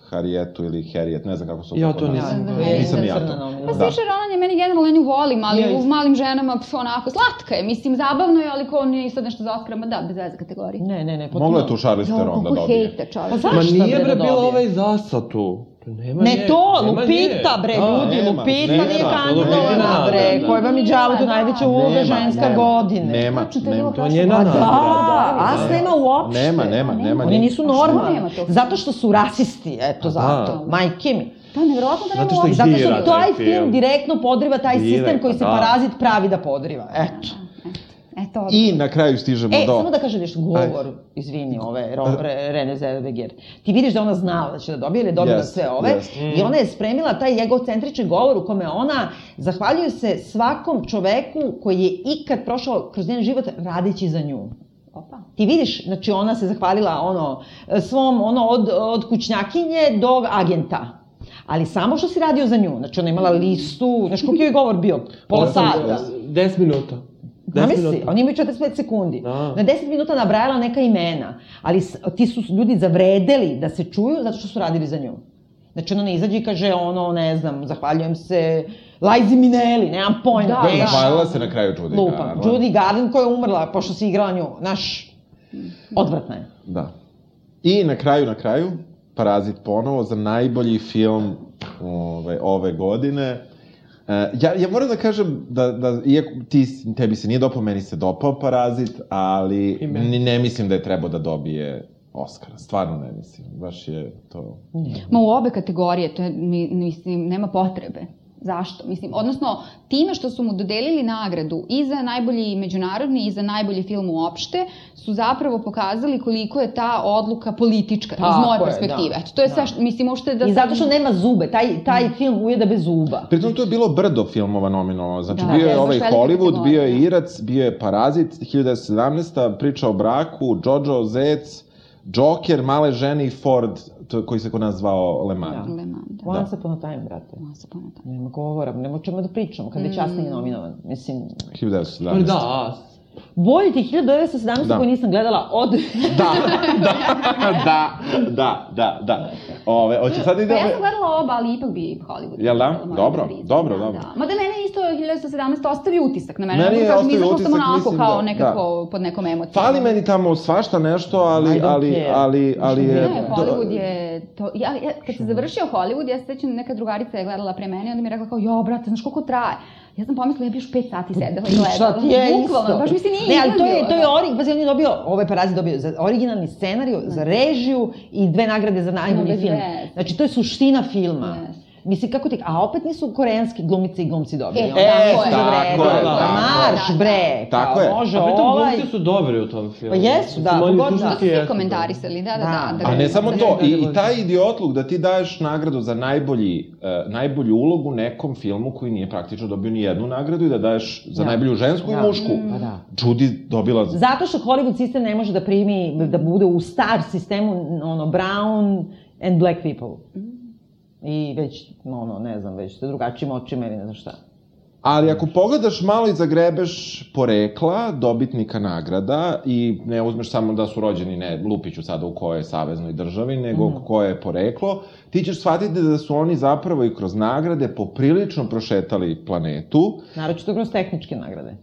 Harrietu ili Harriet, ne znam kako su Ja kako to nazivaju. nisam Da, gledao. da, Nisam Crna ja to. nomina. Pa Da. da. Saoirse Ronan je meni generalno, ja nju volim, ali Ja u isto. malim ženama, pf, onako, slatka je, mislim, zabavno je, ali ko nije sad nešto za Oscara, ma da, bez veze kategorije. Ne, ne, ne, potpuno. Mogla je tu Charlize Jo, Theron da koliko dobije. hejta, čovječ. Pa zašto Ma nije bre bre da bila dobije? ovaj zasa tu. Nema Ne nje, to, nema Lupita nje. bre, Da, ljudi, nema, Lupita nema, nije to kandovana Lupita, da, bre, da. koja vam je džavo tu Nema, najveća uloga nema, ženska nema. godine. Nema, Tačno, to je bilo nema. To nije prošle na nas. godine. Pa Da, Da, as nema uopšte. Nema, nema, nema. Oni nisu A što normalni, nema tog? zato što su rasisti, eto zato, majke mi. Da, nevjerovatno da nema Zato što ih I uopšte. zato što Dira da. taj taj film. film direktno podriva taj Direktno, sistem koji se da. parazit pravi da podriva, eto. Eto, odgovor. I na kraju stižemo E, do... samo da kažem nešto, govor, izvini, ove, Ro- Re- Rene Zellweger. Ti vidiš da ona znala da će da dobije, jer je dobila Jest, sve ove. jest. I ona je spremila taj egocentrični govor u kome ona zahvaljuje se svakom čoveku koji je ikad prošao kroz njen život radeći za nju. Opa. Ti vidiš, znači ona se zahvalila ono svom ono od, od kućnjakinje do agenta. Ali samo što si radio za nju, znači ona je imala listu, znaš koliko je govor bio? Pola Osam- sata. Deset minuta. Deset Zamisli, minuta. oni imaju 45 sekundi. Da. Na 10 minuta nabrajala neka imena, ali s- ti su ljudi zavredeli da se čuju zato što su radili za nju. Znači ona ne izađe i kaže ono, ne znam, zahvaljujem se, Lajzi Minelli, nemam pojma. Da, Deša. Zahvalila se na kraju Judy Lupam. Garland. Judy Garland koja je umrla pošto si igrala nju, naš, odvratna je. Da. I na kraju, na kraju, Parazit ponovo za najbolji film ove, ove godine. E, ja, ja moram da kažem da, da iako ti, tebi se nije dopao, meni se dopao Parazit, ali I meni. ni- ne mislim da je trebao da dobije Oscara. Stvarno ne mislim. Baš je to... Ma u obe kategorije, to je, mi- mislim, nema potrebe. Zašto? Mislim, odnosno, time što su mu dodelili nagradu i za najbolji međunarodni i za najbolji film uopšte, su zapravo pokazali koliko je ta odluka politička, Tako iz moje je, perspektive. da. Eto, to je sve, Da. što, mislim, uopšte da... I sam- Mm. zato što nema zube, taj, taj film ujede bez zuba. Pritom tu je bilo brdo filmova nominovano. Znači, Da, bio ne je znam ovaj šta je velika Hollywood, bio je kategorija. Irac, bio je Parazit, 1917. Priča o braku, Jojo, Zec, Joker, Male žene i Ford, to, je- koji se kod nas zvao Le Mans. Da. Le Mans, da. Once upon a time, brate. Once upon a time. Mm. Nema govora, nema o čemu da pričamo, kad je časnije nominovan. Mislim, 1917. Pa da, as. Bolje ti 1917 Da. koju nisam gledala od... Da, da, da, da, da, da. Ove, hoće sad Pa ide... ja ove- sam gledala oba, ali ipak bi Hollywood. E, Jel da? gledala, moram Dobro, priznam, dobro, da, dobro. Da. Mada mene isto 1917 ostavi utisak na mene. Meni Meni je je kažem, ostavio izašla sam utisak, onako mislim, kao da, nekako pod nekom emocijom. da." Fali meni tamo svašta nešto, ali, I don't ali, care. ali, ali je... Ne, Da, Hollywood je... To, ja, ja, kad se završio Hollywood, ja se sećam, neka drugarica je gledala pre mene, onda mi je rekla kao, jo, brate, znaš koliko traje? Ja sam pomislila, ja bi još 5 sati sedela i gledala. Pa Šta ti je Bukvalno, isto? baš mi se nije Ne, ali to je, izlazilo, to je da. ori, pazi, on je dobio, ovaj parazit dobio za originalni scenariju, Da. za režiju i dve nagrade za najbolji bez film. veze. Znači, to je suština filma. Yes. Mislim, kako ti, a opet nisu korejanski glumice i glumci dobili. E, Onda tako su je. za Tako vredno, je, ono, tako Marš, je. bre. Tako kao, je. Može A pritom ovaj... glumci su dobri u tom Pa filmu. jesu, da, Mislim, oni pogotovo. To suštinski su svi jesu komentarisali, da, da, da. Da. da A ne ga- samo da to, ga- i, i taj idiotluk da ti daješ nagradu za najbolji, e, najbolju ulogu nekom filmu koji nije praktično dobio ni jednu nagradu i da daješ za Da. najbolju žensku i Da. mušku. Pa da. Judy dobila za... Zato što Hollywood sistem ne može da primi, da bude u star sistemu, ono, brown and black people. Mm. I već, ono, ne znam, već sa drugačijim očima ili ne znam šta. Ali ako pogledaš malo i zagrebeš porekla dobitnika nagrada i ne uzmeš samo da su rođeni, ne, lupiću sada u kojoj saveznoj državi, nego koje je poreklo, ti ćeš shvatiti da su oni zapravo i kroz nagrade poprilično prošetali planetu. Naročito kroz tehničke nagrade.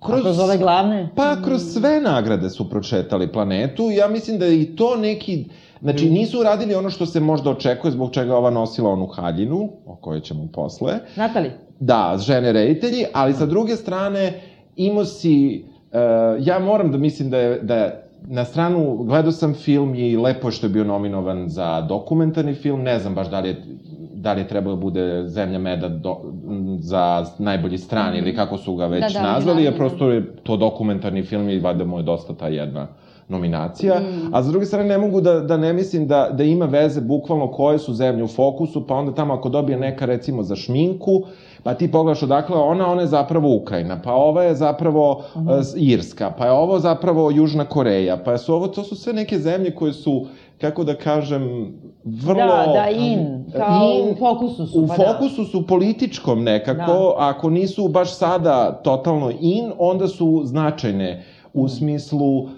Kroz... A kroz ove glavne? Pa, kroz sve nagrade su pročetali planetu. Ja mislim da je i to neki... Mm. Znači, nisu uradili ono što se možda očekuje, zbog čega je ova nosila onu haljinu, o kojoj ćemo posle. Natali, Da, žene reditelji, ali sa druge strane, imao si... Uh, ja moram da mislim da je... Da je Na stranu, gledao sam film i lepo je što je bio nominovan za dokumentarni film, ne znam baš da li je, da li je trebalo da bude Zemlja meda do, m, za najbolji stran ili kako su ga već Da, da, nazvali, je da. prosto to je to dokumentarni film i valjda mu je dosta ta jedna nominacija. Mm. A s druge strane ne mogu da, da ne mislim da, da ima veze bukvalno koje su zemlje u fokusu, pa onda tamo ako dobije neka recimo za šminku, pa ti pogledaš odakle je ona, ona je zapravo Ukrajina, pa ova je zapravo Mhm. e, s- Irska, pa je ovo zapravo Južna Koreja, pa su ovo, to su sve neke zemlje koje su, kako da kažem, vrlo... Mhm. da, da, in. Kao u fokusu su, U pa da. fokusu su političkom nekako, ako nisu baš sada totalno in, onda su značajne Da. u smislu e,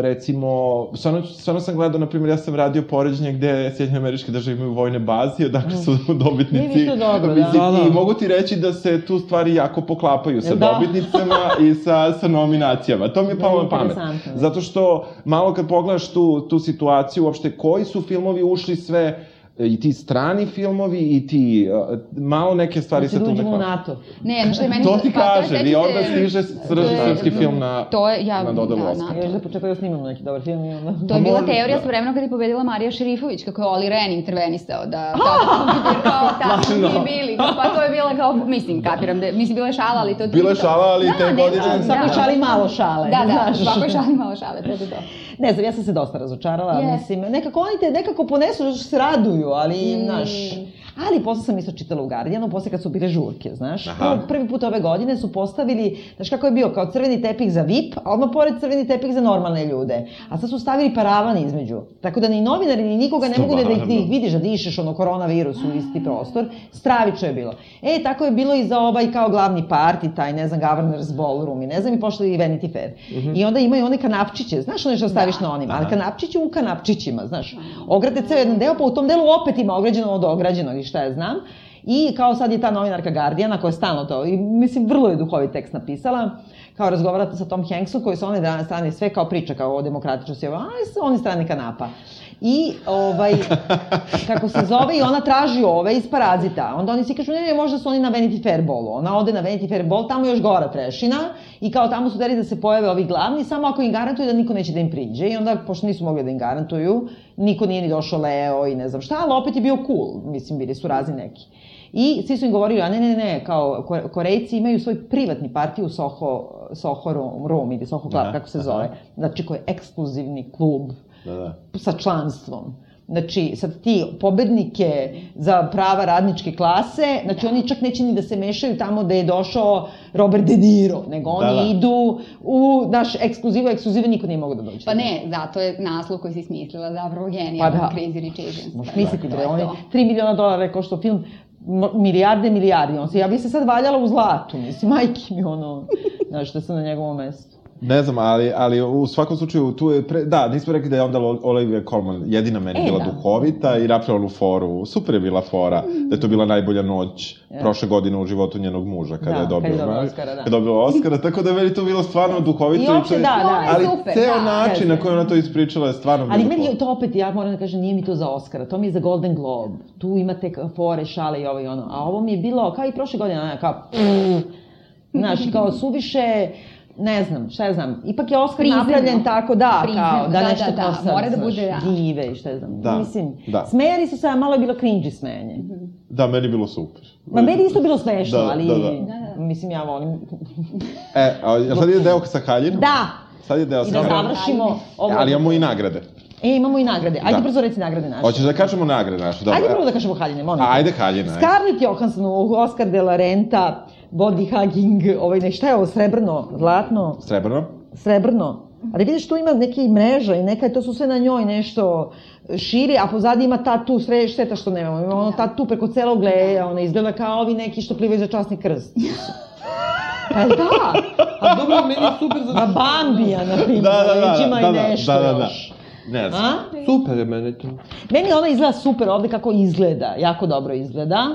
recimo, stvarno, stvarno sam gledao, na primjer, ja sam radio poređenje gde Sjedinje američke države imaju vojne baze i odakle su dobitnici. Mm. Nije mi to dobro, da. Mislim, Da, da. I mogu ti reći da se tu stvari jako poklapaju sa Da. dobitnicama i sa, sa nominacijama. To mi je palo na pamet. interesantno. da. Zato što malo kad pogledaš tu, tu situaciju, uopšte koji su filmovi ušli sve, e, i ti strani filmovi i ti e, malo neke stvari znači da se tu ne uđemo u klapa. NATO. Ne, no što je meni... To ti pa, je, kažem, sećam i se- onda Da. stiže srž, to je- srpski film na, To je, ja... na dodavu da, Oscar. na- Ja još da početak da snimamo neki dobar film i onda... To je bila Mor- teorija da. s vremena kada je pobedila Marija Šerifović, kako je Oli Ren intervenisao, da tako su bili, kao tako da. su mi bili, kao, pa to je bila kao, mislim, kapiram, da, mislim, bila je šala, ali to je Bila je to. Da, šala, ali te ne, godine- znam, Svako šali malo šale, Da, da, znaš. svako šali malo šale, to je to. Ne znam, ja sam se dosta razočarala, Je. mislim, nekako oni te nekako ponesu, zato što se raduju, ali, znaš, ali posle sam isto čitala u Guardianu, posle kad su bile žurke, znaš, Aha. No, prvi put ove godine su postavili, znaš kako je bio, kao crveni tepih za VIP, a odmah pored crveni tepih za normalne ljude, a sad su stavili paravan između, tako da ni novinari, ni nikoga ne mogu da, da, ih, da ih vidiš, da dišeš ono koronavirus u isti prostor, stravično je bilo. E, tako je bilo i za ovaj kao glavni party, taj, ne znam, Governor's Ballroom i ne znam, i pošli i Vanity Fair. I onda imaju one kanapčiće, znaš one što staviš na onima, ali kanapčići u kanapčićima, znaš. Ograde ceo jedan deo, pa u tom delu opet ima ograđeno od ograđenog i šta ja znam. I kao sad je ta novinarka Guardiana koja je stalno to, i mislim vrlo je duhovit tekst napisala, kao razgovara sa Tom Hanksom koji sa one dra- strane sve kao priča kao o demokratičnosti, ovo, ali sa one strane kanapa. I ovaj, kako se zove, i ona traži ove iz parazita. Onda oni si kažu, ne, ne, možda su oni na Vanity Fair bolu. Ona ode na Vanity Fair bol, tamo je još gora trešina i kao tamo su deli da se pojave ovi glavni, samo ako im garantuju da niko neće da im priđe. I onda, pošto nisu mogli da im garantuju, niko nije ni došao Leo i ne znam šta, ali opet je bio cool. Mislim, bili su razni neki. I svi su im govorili, a ne, ne, ne, kao Ko- Korejci imaju svoj privatni parti u Soho, Soho Room, Room ili Soho Club, Aha, kako se aha. zove. Znači, koji je ekskluzivni klub Da, da. sa članstvom. Znači, sad ti pobednike za prava radničke klase, znači oni čak neće ni da se mešaju tamo da je došao Robert De Niro, nego Da, oni da. idu u naš ekskluzivu, ekskluzivu niko nije mogao da dođe. Pa ne, zato je naslov koji si smislila zapravo genijalno, Pa pa da. da. Crazy Rich Asians. Možeš Pa da, misliti, to bre, je on je to. 3 miliona dolara je koštao film, m- milijarde, milijardi, on se, ja bi se sad valjala u zlatu, mislim, majke mi ono, znaš, da sam na njegovom mestu. Ne znam, ali, ali u svakom slučaju tu je, pre, da, nismo rekli da je onda Lo- Olivia Colman jedina meni E, bila da. duhovita i napravila onu foru, super je bila fora, da je to bila najbolja noć prošle godine u životu njenog muža kada Da, je dobio, kad je dobila Oscara, da. kada je dobila Oscara, tako da je meni to bilo stvarno duhovito. I uopšte, to je- da, da. Ali Super, ceo da. način na koji ona to ispričala je stvarno Ali bilo meni cool. je to opet, ja moram da kažem, nije mi to za Oscara, to mi je za Golden Globe. Tu imate k- fore, šale i ovo i ono. A ovo mi je bilo, kao i prošle godine, ono, kao... pff, Znaš, kao suviše, ne znam, šta ja znam. Ipak je Oscar Prizemno. napravljen tako, da, Prizemno, kao, da, da, nešto da, da, posebno, mora da znaš, bude, da. dive i šta ja znam. Da, Mislim, da. smejali su se, a malo je bilo cringy smejanje. Da, meni je bilo super. Ma meni je isto bilo smešno, Da, ali da, da. Da, mislim ja volim E, a jel sad je deo sa Haljinom? Da! Sad je deo I sa da Haljinom. završimo ovo. Ali imamo i nagrade. E, imamo i nagrade. Ajde Da. brzo reci nagrade naše. Hoćeš da kažemo nagrade naše? Dobro. Ajde prvo da kažemo Haljine, molim. te. Ajde Haljina. ajde. Scarlett Johansson, Oscar de la Renta, Body Hugging, ovaj ne, šta je ovo, srebrno, zlatno, Srebrno. srebrno. Ali vidiš, tu ima neki mreža i neka, to su sve na njoj nešto širi, a pozadi ima ta tu, sre, šteta što nemamo, ima Da. ono ta tu preko celog leja, ona izgleda kao ovi neki što plivaju za časni krst. Pa da, A dobro, meni je super zato a što... Bambija, na primjer, Da, da, da, lećima da, i da, nešto da, da, da. još. Ne znam. A? Super je meni to. Meni ona izgleda super ovde kako izgleda, jako dobro izgleda,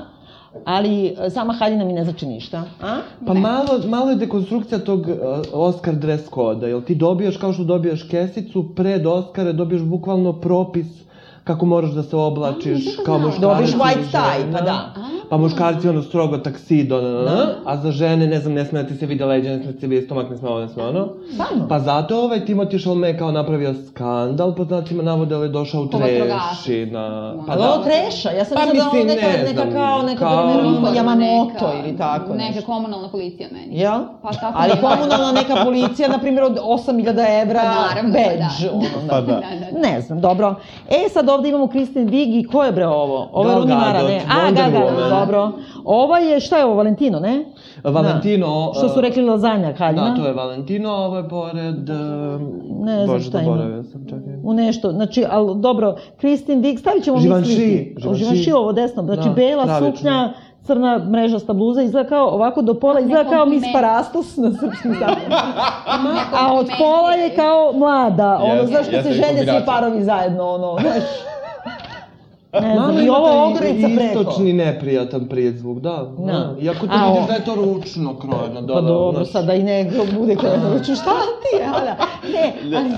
ali e, sama haljina mi ne znači ništa. A? Pa malo, malo je dekonstrukcija tog uh, Oscar dress koda, jel ti dobijaš kao što dobijaš kesicu, pred Oscare dobijaš bukvalno propis kako moraš da se oblačiš, nisam kao znala. muškarac. Dobiš ili white tie, žena. pa da. Pa muškarci ono strogo taksido, na, na, na, a za žene ne znam, ne sme da ti se vide leđa, ne sme da ti se vide stomak, ne sme ovo, ne sme ono. Stvarno? Pa zato ovaj Timothy Chalamet kao napravio skandal, po znacima navoda ali je došao u Kao vatrogasac. treši na... Pa Ali ovo treša, ja sam Pa mislila da ovo mislim, neka, ne neka znam, kao neka kao- kao... Uniforma Yamamoto neka, ili tako Neka nešto. komunalna policija meni. Jel? Pa tako Ali da- komunalna neka policija, na primjer, od 8000 evra Pa naravno, pa badge. da. Ono, Pa da. Ne znam, dobro. E, sad ovde imamo Kristin Vig i ko je bre ovo? Ovo je Gal Rooney Mara, ne? Gadot, A, Wonder Gaga, Woman. dobro. Ovo je, šta je ovo, Valentino, ne? Valentino... Što su e, rekli lazanja, haljina? Da, to je Valentino, a ovo je pored... um, Ne znam Bože, šta ima. zaboravio sam, čekaj. u nešto, znači, ali dobro, Kristin Wiig, stavit ćemo Givenchy, misliti. O, Givenchy. Givenchy ovo desno, znači Da, bela pravično. suknja, crna mrežasta bluza, izgleda kao ovako do pola, izgleda kao Miss kompliment. Parastos na srpskim zakonima. A od kompliment pola je je. kao mlada, ono, Jeste, znaš kad se jeste, žene svi kombinacija. parovi zajedno, ono, znaš. Ne znam, Malo i ima taj ovo ogrlica preko. Da, Istočni neprijatan prizvuk, da. Da. da. Iako ti A vidiš o- da je to ručno krojeno. Da, Pa da, dobro, znaš. sada i ne bude krenuo, ću šta ti, Ana? Ne, ali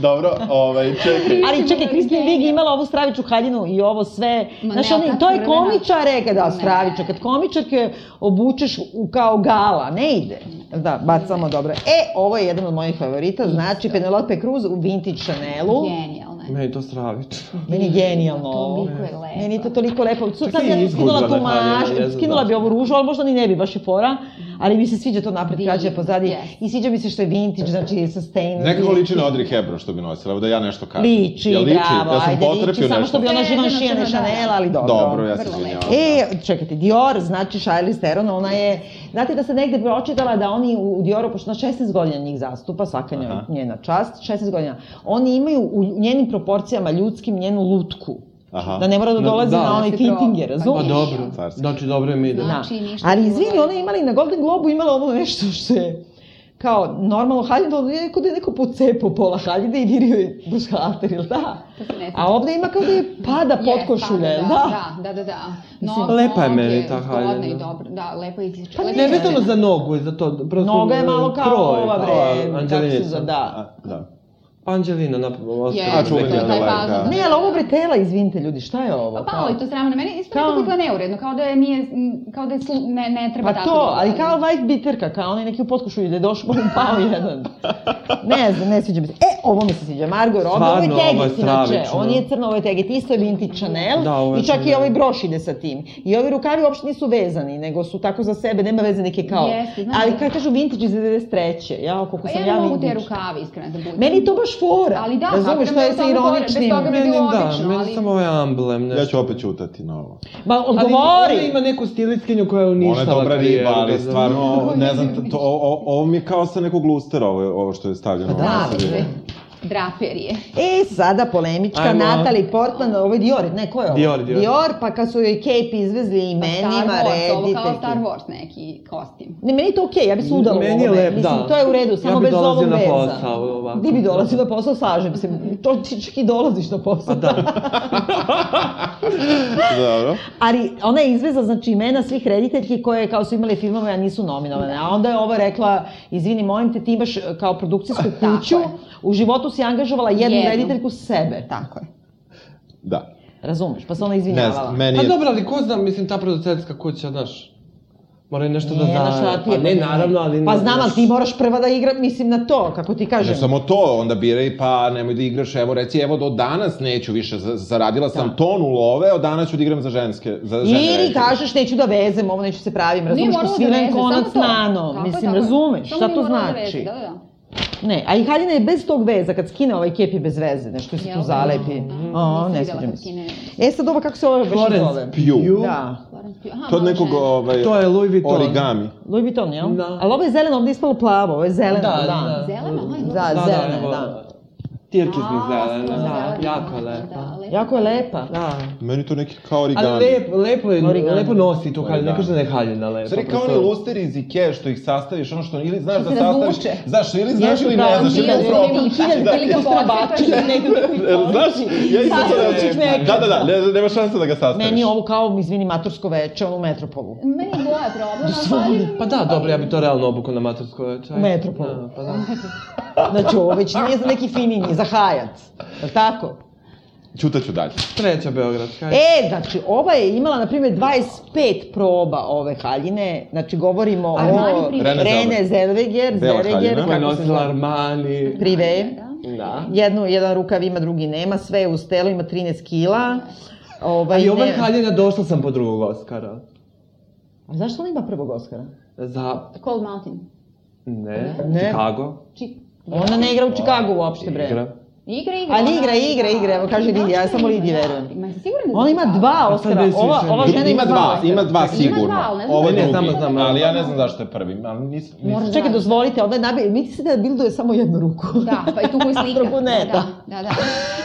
Dobro, ovaj, čekaj. Ali čekaj, Kristin Vig je imala ovu straviču haljinu i ovo sve. Ma Znaš, ne, oni, ta to je crvena. komičare, kad, da, Ne. straviča, kad komičarke obučeš u, kao gala, ne ide. Da, bacamo dobro. E, ovo je jedan od mojih favorita, znači Penelope Cruz u vintage Chanelu. Genijalna je. Meni je to stravično. Meni je genijalno ovo. Toliko je lepo. Meni je to toliko lepo. Su, sad i ja skinula izgudla tu na haljinu, ne maš, znam skinula bi zašto. ovu ružu, ali možda ni ne bi, baš je fora. Ali mi se sviđa to napred Da. Divno, krađe pozadi. yes. I sviđa mi se što je vintage, znači sustainable. Nekako liči na Audrey Hepburn što bi nosila, evo da ja nešto kažem. Liči, Jel bravo, Jel sam ajde, liči, potrepio samo nešto? što bi ona Ne, živan šija jednostavno, ne da. Chanel, ali dobro. Dobro, ja se Vrlo izvinjavam. da. E, čekajte, Dior, znači Charlize Theron, ona je, znate da se negde pročitala da oni u u Dioru, pošto na 16 godina njih zastupa, svaka njoj- Aha. njena čast, 16 godina, oni imaju u njenim proporcijama ljudskim njenu lutku. Aha. Da ne mora da Da, dolazi da. na onaj Mislim, tintinge, pa razumiješ? Pa dobro, Carski. znači dobro mi ide. Da. Da. Znači, ništa Ali drugo izvini, je. ona je imala i na Golden Globu imala ovo nešto što je kao normalno haljina, ali je neko da je neko pocepao pola haljine i virio je bušhater, jel da? To se ne sjećam. A ovde ima kao da je pada pod košulja, da, jel da? Da, da, da. da. Mislim, lepa je meni ta Zgodna haljina. i dobra, da, lepa je izlična. Pa Lepa Ne je vezano izlična. za nogu, je za to prosto... Noga je malo kao kroj, ova, bre, kao kako se zove, Anđelina. da. A, da. Pa Anđelina, na Oscar. Jeste, A, čuveni to je taj Adelaide, fazon. da. Ne, ali ovo bre tela, izvinite ljudi, šta je ovo? Pa palo je to sramno. Meni isto Kao- nekako izgleda neuredno, kao da je nije, m, kao da je slu, ne, ne treba Pa tako. to, da ali izgleda. kao white biterka, kao onaj neki u potkošulju da je došao, pa mu pao jedan. Ne znam, ne sviđa mi se. E, ovo mi se sviđa, Margo Robbie, ovo je Stvarno, ovo je teget, inače. stravično. On je crno, ovo je teget, isto je vintage Chanel Da, ovo je i čak i Chanel. ovaj broš ide sa tim. I ovi rukavi uopšte nisu vezani, nego su tako za sebe, nema veze neke kao. Jeste, znam. ali kad kažu vintage iz 93. Jao, koliko Pa sam ja ja ne vintage. mogu te rukave, iskreno da budem. Meni je to baš fora. Ali da, kako razumeš, da to je bez sa toga fora, bez ironičnim. toga bi- Meni, bilo da, odlično, meni ali- samo ovaj amblem, nešto. Ja ću opet ćutati na ovo. Ma, Ali odgovori! ona ima neku stilistkinju koja je Ona uništava je dobra riba, karijeru, ali da znam. Pa stvarno, ne znam, to, o, o, ovo mi je kao sa nekog lustera ovo, ovo što je stavljeno. Da, Ovo vidi. je- draperije. E, sada polemička, Ajmo. Natalie Portman, ovo je Dior, ne, ko je ovo? Dior, Dior. Pa pa kad su joj cape izvezli i Pa Star menima, Wars, ovo redite. kao ti. Star Wars neki kostim. Ne, meni je to okej, ja bi se udala Meni u je ovome. lep, Mislim, da. to je u redu, Ja samo bi bez dolazio ovog na veza. posao, ovako. Ti bi dolazio na posao, slažem se. To ti čak i dolaziš na posao. Pa da. dakle. Dobro. Ali ona je izvezla, znači, imena svih rediteljki koje kao su imale filmove, a nisu nominovane. A onda je ova rekla, izvini, molim te, ti imaš e, kao produkcijsku Tako kuću, je. u životu si angažovala jednu, Jednu. rediteljku sebe. Tako je. Da. Razumeš? Pa se ona Ne izvinjavala. znam, meni Pa je... dobro, ali ko zna, mislim, ta producentska kuća, znaš, moraju nešto da Ne, zarade. znaš šta ti je, Pa ne, naravno, ali... Pa ne, znam, ali znaš- ti moraš prva da igra, mislim, na to, kako ti kažem. Ne samo to, onda biraj, pa nemoj da igraš, evo reci, evo do danas neću više, za- zaradila Da. sam tonu love, od danas ću da igram za ženske, za žene. Ili reditelje. kažeš neću da vezem, ovo neću se pravim, razumeš, ko moralo da svilen veze, konac samo to. nano, Tako je, mislim, tako je. razumeš, Samo šta nije to moralo da znači? veze, Da, da, da. Ne, a i haljina je bez tog veza, kad skine ovaj kep je bez veze, nešto se Jel tu da? zalepi. O, nisam ne videla sviđa mi kad se. skine. E sad ovo, kako se ovo baš zove? Florence Pugh. Da. Florence Pugh. Aha, To od mala nekog, žena. ovaj, To je Louis Vuitton. origami. Louis Vuitton, jel? Da. Ali ovo je zeleno, ovde je ispalo plavo, ovo je zeleno, Da, da. da. Zelena, ovo je Da, dobro. Da, zelena, da, evo, da. Tirkizni A, zelena, skroz da, zelena, jako da, lepa. da, Jako je lepa. Da. Meni to neki kao origami. Ali lep, lepo, je, Origami. lepo nosi tu haljinu, ne Origami. kaže da je haljina lepa. Sve kao prosto- oni lusteri iz Ikea što ih sastaviš, ono što ili znaš Što da se sastaviš, razvuče. znaš ili znaš Jesu ili pravo, ne znaš, nije ili je su problem. oni hiljadu Da, velika strabačina, nekog E, Znaš, ja isto to Sastavit ćeš ne... neki. Da, da, da, ne, nema šanse da ga sastaviš. Meni je ovo kao, izvini, matursko veče, ono u Metropolu. Meni je boja problem, ali... Pa da, dobro, ja bi to realno obuku na matersko večer. U Metropolu. Da, pa da. Znači, ovo već nije za neki finini, za hajac. Je li tako? Ćutaću dalje. Treća Beogradska. ajde. E, znači, ova je imala, na primjer, 25 proba ove haljine. Znači, govorimo Armani o Privé. Rene Rene Zellweger, Bela haljina. Zellweger, Koja je kako se nosila zove? Armani. Privé. Da. Jednu, jedan rukav ima, drugi nema, sve je uz telo, ima 13 kila. Ovaj, I ova ne- haljina došla sam po drugog Oscara. A zašto ona ima prvog Oscara? Za... Cold Mountain. Ne, Ne. Chicago. Čik. Ona ne igra u Chicagu uopšte, bre. Igra. Igra, igra. Ali ona igra, igra, igra, evo kaže Znaš Lidija, ja šta samo ima, Lidiji da. verujem. Ma, si siguran da Ona ima dva A sad Oscara, već ova, više ova nije. žena Ima dva, Oscara. ima dva Čekaj, ima sigurno. dva, ali ne znam Ovo da je li drugi, je samo znam. ali ja ne znam zašto je prvi, ali nis, nis, Možda- Čekaj, dozvolite, onda je nabi... Mislite da bilduje samo jednu ruku. Da, pa i tu koji slika. Drugu ne, da. Da, da.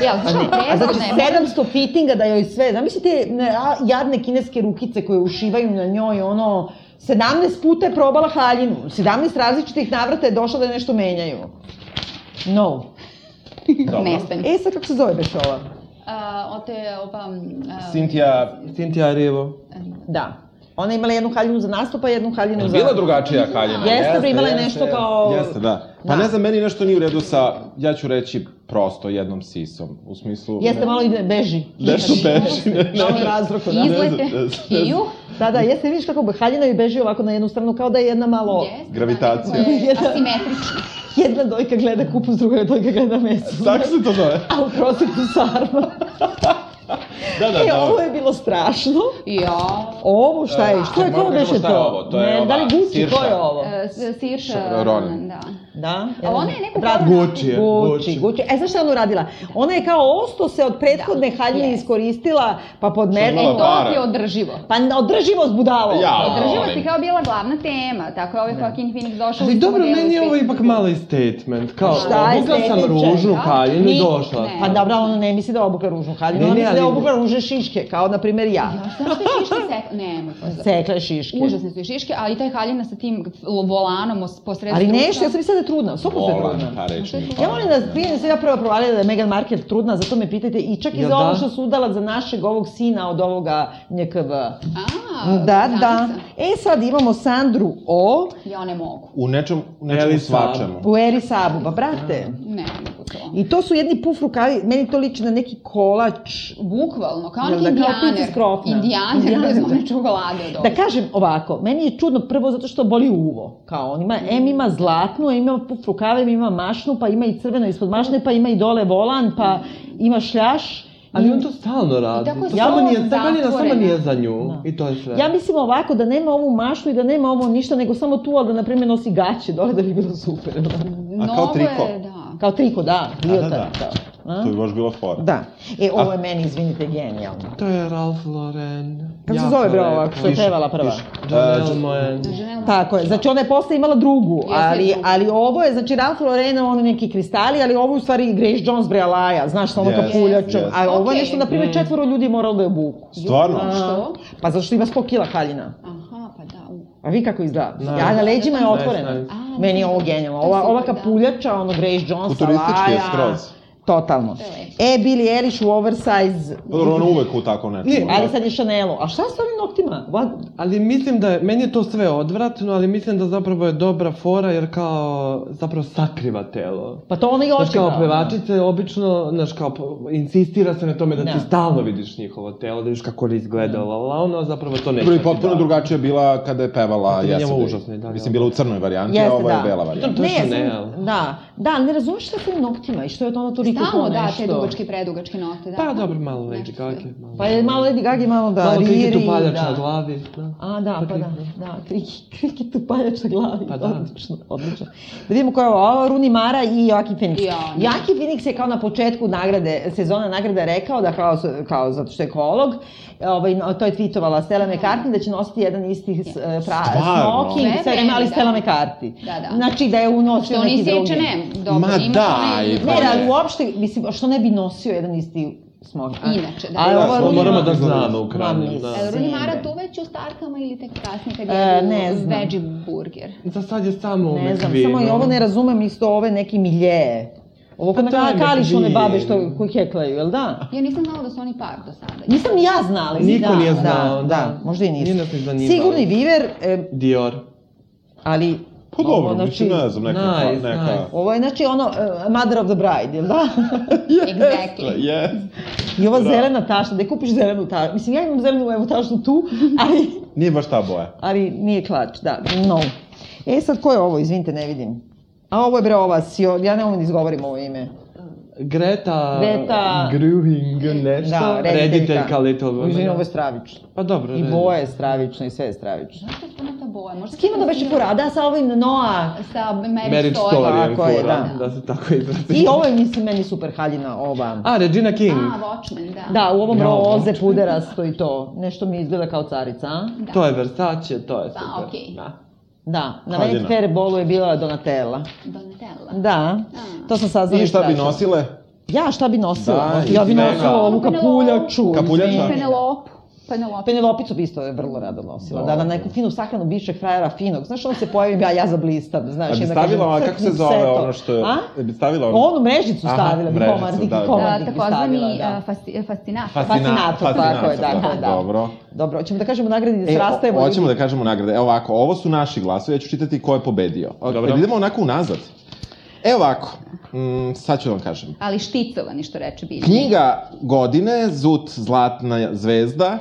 Jel, znaš šta, A znači prezgodna je. 700 fittinga da joj sve, zamislite ne, a, jadne kineske rukice koje ušivaju na njoj, ono, 17 puta je probala haljinu, 17 različitih navrata je došla da joj nešto menjaju. No. dobro. Nespen. E, sad kako se zove već ova? A, Oto je ova... m, a, Cynthia, Cynthia Erivo. Da. Ona je imala jednu haljinu za nastup, a jednu haljinu za... bila drugačija haljina. Jeste, bre, imala je nešto kao- Jeste, da. Pa ne znam, meni nešto nije u redu sa, ja ću reći prosto, jednom sisom. U smislu... Jeste, malo ide, beži. Nešto beži, ne, ne. Malo je razroku, da. Ne Izlete. znam, ne znam. Kiju. Da, da, jeste, vidiš kako bi haljina joj beži ovako na jednu stranu, kao da je jedna malo... Jeste, da, Gravitacija. nekako je Jedan. Asimetrična. Jedna dojka gleda kupus, druga dojka gleda meso. Tako se to zove. A u proseku sarma. Da, da, e, da. ovo je bilo strašno. Ja. Ovo šta je? Što je moram to da beše kažemo to? šta je ovo, to je ne, ova da li Gucci, Sirša. ko je ovo? E, s- Sirša. Š- Ronan. Da. Da. A ona je neku Brat kao- Gucci je. Gucci, Gucci. E, znaš šta je ona uradila? Ona je kao osto se od prethodne Da, haljine Yes. iskoristila, Što pa je podmetnula. imala E, To para. ti je održivo. Pa na- održivost budalo. Ja. Održivost Molim. je kao bila glavna tema, tako je ovaj fucking Phoenix došao. Ali u dobro, modelu meni je ovo Space ipak Force. malo i statement. Kao, Pa Šta je obukla sam statement, ružnu čekaj? haljinu Ni- i došla. ne. Pa dobra, ona ne misli da je obukla ružnu haljinu, Ne, ona ne, misli da je ali- obukla ružne šiške, kao na primjer ja. Ja, zašto je šiške sekla? Nemoj, pa za- Sekle šiške. Užasne su i šiške, ali taj haljina sa tim volanom os- posred Ali nešto, struka. ja sam mislila da je trudna, super da je Volan, trudna. pa reći mi. Ja molim da prije nego sam ja prvo provalila da je Meghan Markle trudna, zato me pitajte i čak i Jel za ovo da? što su udala za našeg ovog sina od ovoga NJKV. A, Da, da. Danica. E sad imamo Sandru O Ja ne mogu. U nečem, u nečemu Elisa. svačemu. u Eri Sabu, pa brate. Ne mogu to. I to su jedni puf rukavi, meni to liči na neki kolač. Bukvalno, kao Jel neki da, kao indijaner. princes krofna. Indijaner Indijaner, bez da. one čokolade od Da ovog. kažem ovako, meni je čudno prvo zato što boli uvo, kao on ima, em ima zlatnu, em ima puf rukave, em ima mašnu, pa ima i crveno ispod mašne, pa ima i dole volan, pa ima šljaš. Ali I- on to stalno radi. tako je to stalno samo nije, ta haljina samo zatvorena. nije za nju. Da. I to je sve. Ja mislim ovako da nema ovu mašnu i da nema ovo ništa, nego samo tu, ali da na primjer nosi gaće dole da bi bilo A super. kao Mnogo je, triko. da. Kao triko, da, Da, da, leotard, da. kao. To bi baš bila fora. Da. E, ovo je meni, izvinite, genijalno. To je Ralph Lauren. Kako se Jako Uh, zove, bre, lepo. ova što je pevala prva? Janelle Monáe. Tako je, znači ona je posle imala drugu, Jeste, ali, drugu. ali ovo je, znači Ralph Lauren, on neki kristali, ali ovo je u stvari Grace Jones bre Alaja, znaš, sa onom Jeste, kapuljačom, jeste. a ovo je Okej. nešto, na Mm. primjer, četvoro ljudi moralo da je obuku. Stvarno? Što? Pa zato što ima 100 kila haljina. Aha, pa da. u. A vi kako izgleda? Nice. Ja, na leđima je Nice, otvorena. nice. A, Meni je da. ovo genijalno. To je Ova, super, ova da. kapuljača, ono Grace Jones, Futuristički je skroz. Totalno. To je lepo. E, Billie Eilish u oversize. Pa dobro, ona uvek u tako nečemu. Ali sad je Chanelu. A šta sa ovim noktima? What? Ali mislim da je, meni je to sve odvratno, ali mislim da zapravo je dobra fora jer kao zapravo sakriva telo. Pa to ona i Znaš, oči. kao pevačice, obično, znaš, kao, po- insistira se na tome da Da. ti stalno vidiš njihovo telo, da vidiš kako ona izgleda, la, la, ono, a zapravo to neće. da Dobro, i potpuno drugačija je bila kada je pevala Potpuno Yesterday. njemu užasno je, da, da. Mislim, bila u crnoj varijanti, Jeste, a ovo je da. bela varijanta. To je Ne, ja sam- Chanel. da, da, ali ne razumeš šta je tim noktima i što je to ona toliko Stalno to da, nešto. te dugačke, predugačke note, da. Pa, dobro, malo Nešto Lady Gaga. malo- Pa je malo Lady Gaga i malo da Malo riri. kriketu paljač da. na glavi. da. A, da, pa da, da, kriki, kriki tu paljač na glavi, Pa da. odlično, odlično. Da vidimo ko je ovo, ovo Runi Mara i Joaki Phoenix. I oni. Joaki Phoenix je kao na početku nagrade, sezona nagrade rekao da kao, kao zato što je ekolog, ovaj, no, to je tweetovala Stella McCartney da će nositi jedan isti s- e, pra, Stvarno? smoking, Sve sve vreme, vreme, ali da. Stella McCartney. Da, da. Znači da je unosio Što neki nisi drugi. H&M, dobro, Ma imaš daj, onaj- pa Ne, da, ne. ali uopšte, mislim, što ne bi nosio jedan isti smoking? Inače, da. Ali Da, ovo je To Rooney moramo Mara. da znamo u Ma, krajnjem, mislim. da. Jel Runi Mara tu Zimbe. već u starkama ili tek kasnije kad E, jedu ne znam. veggie burger? Za sad je samo Ne znam, McVie, samo i no. ovo ne razumem isto ove neki miljeje. Ovo kad Pa to je nakališ one McVie. babe što koji heklaju, jel da? Ja nisam znala da su oni par do sada. Nisam ni ja znala. izvini, Niko da, nije da, znao, da, da. možda i Nije nisam. nas ni zanimalo. Sigurni viver, e, Dior. ali... Pa dobro, ovo, znači, mislim, ne znam, neka... Nice, neka... nice. Ovo je znači ono e, Mother of the Bride, jel da? Exactly. Yes. I ova Da. zelena tašta, da kupiš zelenu taštu. Mislim, ja imam zelenu evo taštu tu, ali, Nije baš ta boja. ali nije klač, da, no. E sad, ko je ovo, izvinite, ne vidim. A ovo je bre ova, Sio, ja ne mogu ni izgovorim ovo ime. Greta... Greta- Gruhing, nešto. Da, rediteljka Little Mislim, da. ovo je Women. stravično. Pa dobro, I red- boje je stravično i sve je stravično. Zašto je to ta boja? Možda S kim da već porada sa ovim Noa? Sa Mary, Marriage Story, tako je, fora, da. da se tako izrazi. I ovo je, mislim, meni super haljina ova. A, Regina King. A, Watchmen, da. Da, u ovom Ja, ovo. roze puderasto i to. Nešto mi izgleda kao carica, a? Da, To je Versace, to je Pa, super. okej. Da. Da, na Haljina. Vanity Fair bolu je bila Donatella. Donatella. Da, A. to sam saznala. I iz šta bi strašno. nosile? Ja šta bi nosila? Da, ja bi iz svega. nosila ovu kapuljaču. Kapuljača? Znači, izvini. Penelopu. Penelopu. Penelopicu bi isto je vrlo rado nosila. Da, na neku finu sahranu bivšeg frajera finog. Znaš, on se pojavi, ja, ja zablistam. Znaš, A bi i onda stavila, kažem, ona- kako se crkni zove pseto. ono što je... A? Bi stavila ono... Onu mrežicu Aha, stavila, bi mrežicu, komardik, da, da. da, Da, komardik bi takozvani stavila. Da. uh, fasci- fascinator. Fascina- Fascinator, tako je, fascinator, tako je, da. Dobro. Dobro, hoćemo da kažemo nagradi da E, srastajemo. o- hoćemo da kažemo nagrade. Evo ovako, ovo su naši glasovi, ja ću čitati ko je pobedio. Ok, da Dobro. Idemo onako unazad. Evo ovako, mm, sad ću vam kažem. Ali šticovani, što reče Billy. Knjiga godine, Zut Zlatna zvezda,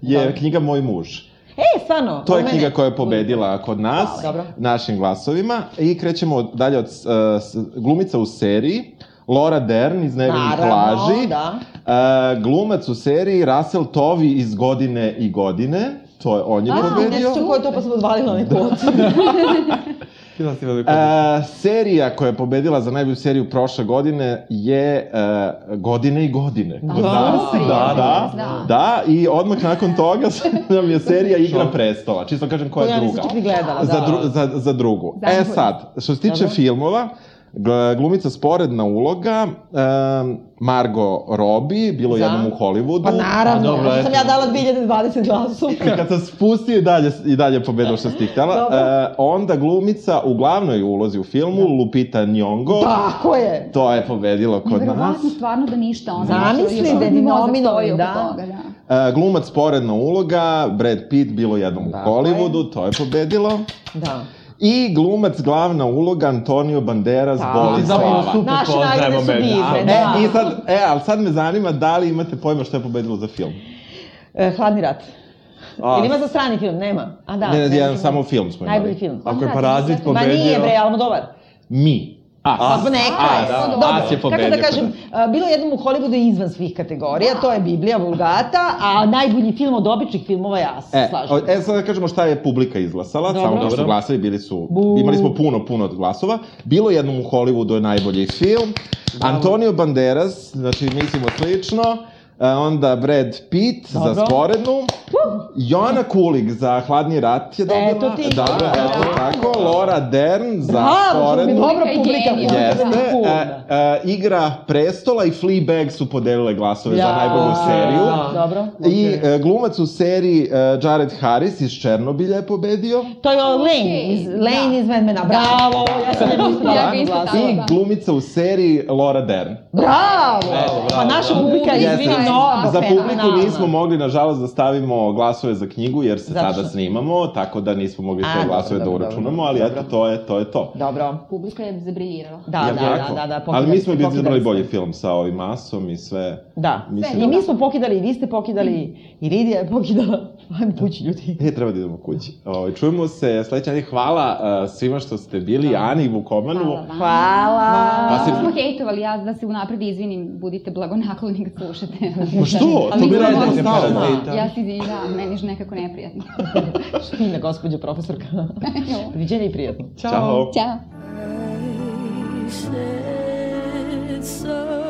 je knjiga Moj muž. E, stvarno. To je u mene- knjiga koja je pobedila kod nas, Dobro. našim glasovima. I krećemo od- dalje od s- e, s- glumica u seriji, Laura Dern iz Nevinih Naravno, plaži. da. E, glumac u seriji, Russell Tovi iz Godine i godine. To je, on je A, pobedio. Da, nešto ko je to pa sam odvalila neku ocu. Bila si veliko. E, serija koja je pobedila za najbolju seriju prošle godine je e, Godine i godine. Kod Da, nas. super, da, da, da. da, i odmah nakon toga nam je serija Igra prestola. Čisto kažem koja Ja je nisam druga. čak ni gledala, Za, da. dru, za, za drugu. Za e drugu. sad, što se tiče filmova, gl- glumica sporedna uloga, em, Margo Robbie, bilo Za? jednom u Hollywoodu. Pa naravno, A, dobro, što sam eto. ja dala 2020 glasovka. Kad sam spustio i dalje, i dalje pobedao što si ti htjela. Dobro. Da. E, onda glumica u glavnoj ulozi u filmu, Lupita Nyong'o. Tako je. To je pobedilo kod nas. Nevjerovatno stvarno da ništa ona. Zamisli Još da je uvijek mozak nominovan, stoji oko da. toga, da. E, glumac sporedna uloga, Brad Pitt, bilo jednom u Tako Hollywoodu, to je pobedilo. Da. I glumac glavna uloga, Antonio Banderas, Tako Boli je. Slava. Zapravo super Naše poznajem nagrade su o meni. divne, A, E, da. i sad, e, ali sad me zanima da li imate pojma što je pobedilo za film. E, hladni rat. A, Ili ima za strani film? Nema. A da. ne, ne, nema jedan film. samo film smo imali. Najbolji film. Ako je Parazit Da, Ma nije pobedio... bre, Almodovar. Mi. As. Pa neka A, je. da, Dobro, As je pobedio. Kako da kažem, a, bilo je jednom u Hollywoodu izvan svih kategorija, to je Biblija Vulgata, a najbolji film od običnih filmova je As, E, slažem. o- e, sad da kažemo šta je publika izglasala, Dobro. samo da su Dobro. glasali, bili su, Bu. imali smo puno, puno od glasova. Bilo je jednom u Hollywoodu je najbolji film, Antonio Banderas, znači mislimo slično, e, onda Brad Pitt Dobro. za sporednu, Joana Kulig za Hladni rat je dobila, Eto ti. dobro, eto Bravo. tako, Laura Dern za Bravo, što mi je sporednu, dobra Publika je publika. genij. publika je Jeste, cool. e, e, igra Prestola i Fleabag su podelile glasove za Ja. najbolju seriju. Da. Dobro. I e, glumac u seriji e, Jared Harris iz Černobilja je pobedio. To je Lane, Okej, iz, Lane da. iz Mad Mena. Bravo, ja sam ne mislila. Ja bi isto tako. da. I glumica u seriji Laura Dern. Bravo! Bravo, Pa bravo, naša bravo. publika je Jeste. izvini nova. za publiku fenomenalna. nismo mogli, nažalost, da stavimo glasove za knjigu, jer se Zato tada što? snimamo, tako da nismo mogli A, te dobro, glasove da dobro, uračunamo, dobro, ali dobro. eto, to je to. Je to. Dobro. Publika je zabriljirala. Da, Jel da, tako? da, da, da. ali pokidali mi ste, smo pokidali izbrali ste. bolji film sa ovim masom i sve. Da. Mislim I da- mi smo pokidali, i vi ste pokidali, i Lidija je pokidala. Ajmo kući, ljudi. E, treba da idemo kući. O, čujemo se sledeće nedelje. Hvala e, svima što ste bili, Ani i Vukomanu. Hvala vam. Hvala. Pa se- Ako smo hejtovali, ja da se unapred izvinim, budite blagonakloni kad slušate. Ma Pa što? Ali To mi mi radimo znamo stalno. da. ja se izvinjam, da, meni je nekako neprijatno. Fina gospođa profesorka. Doviđenja i prijatno. Ćao. Ćao. said so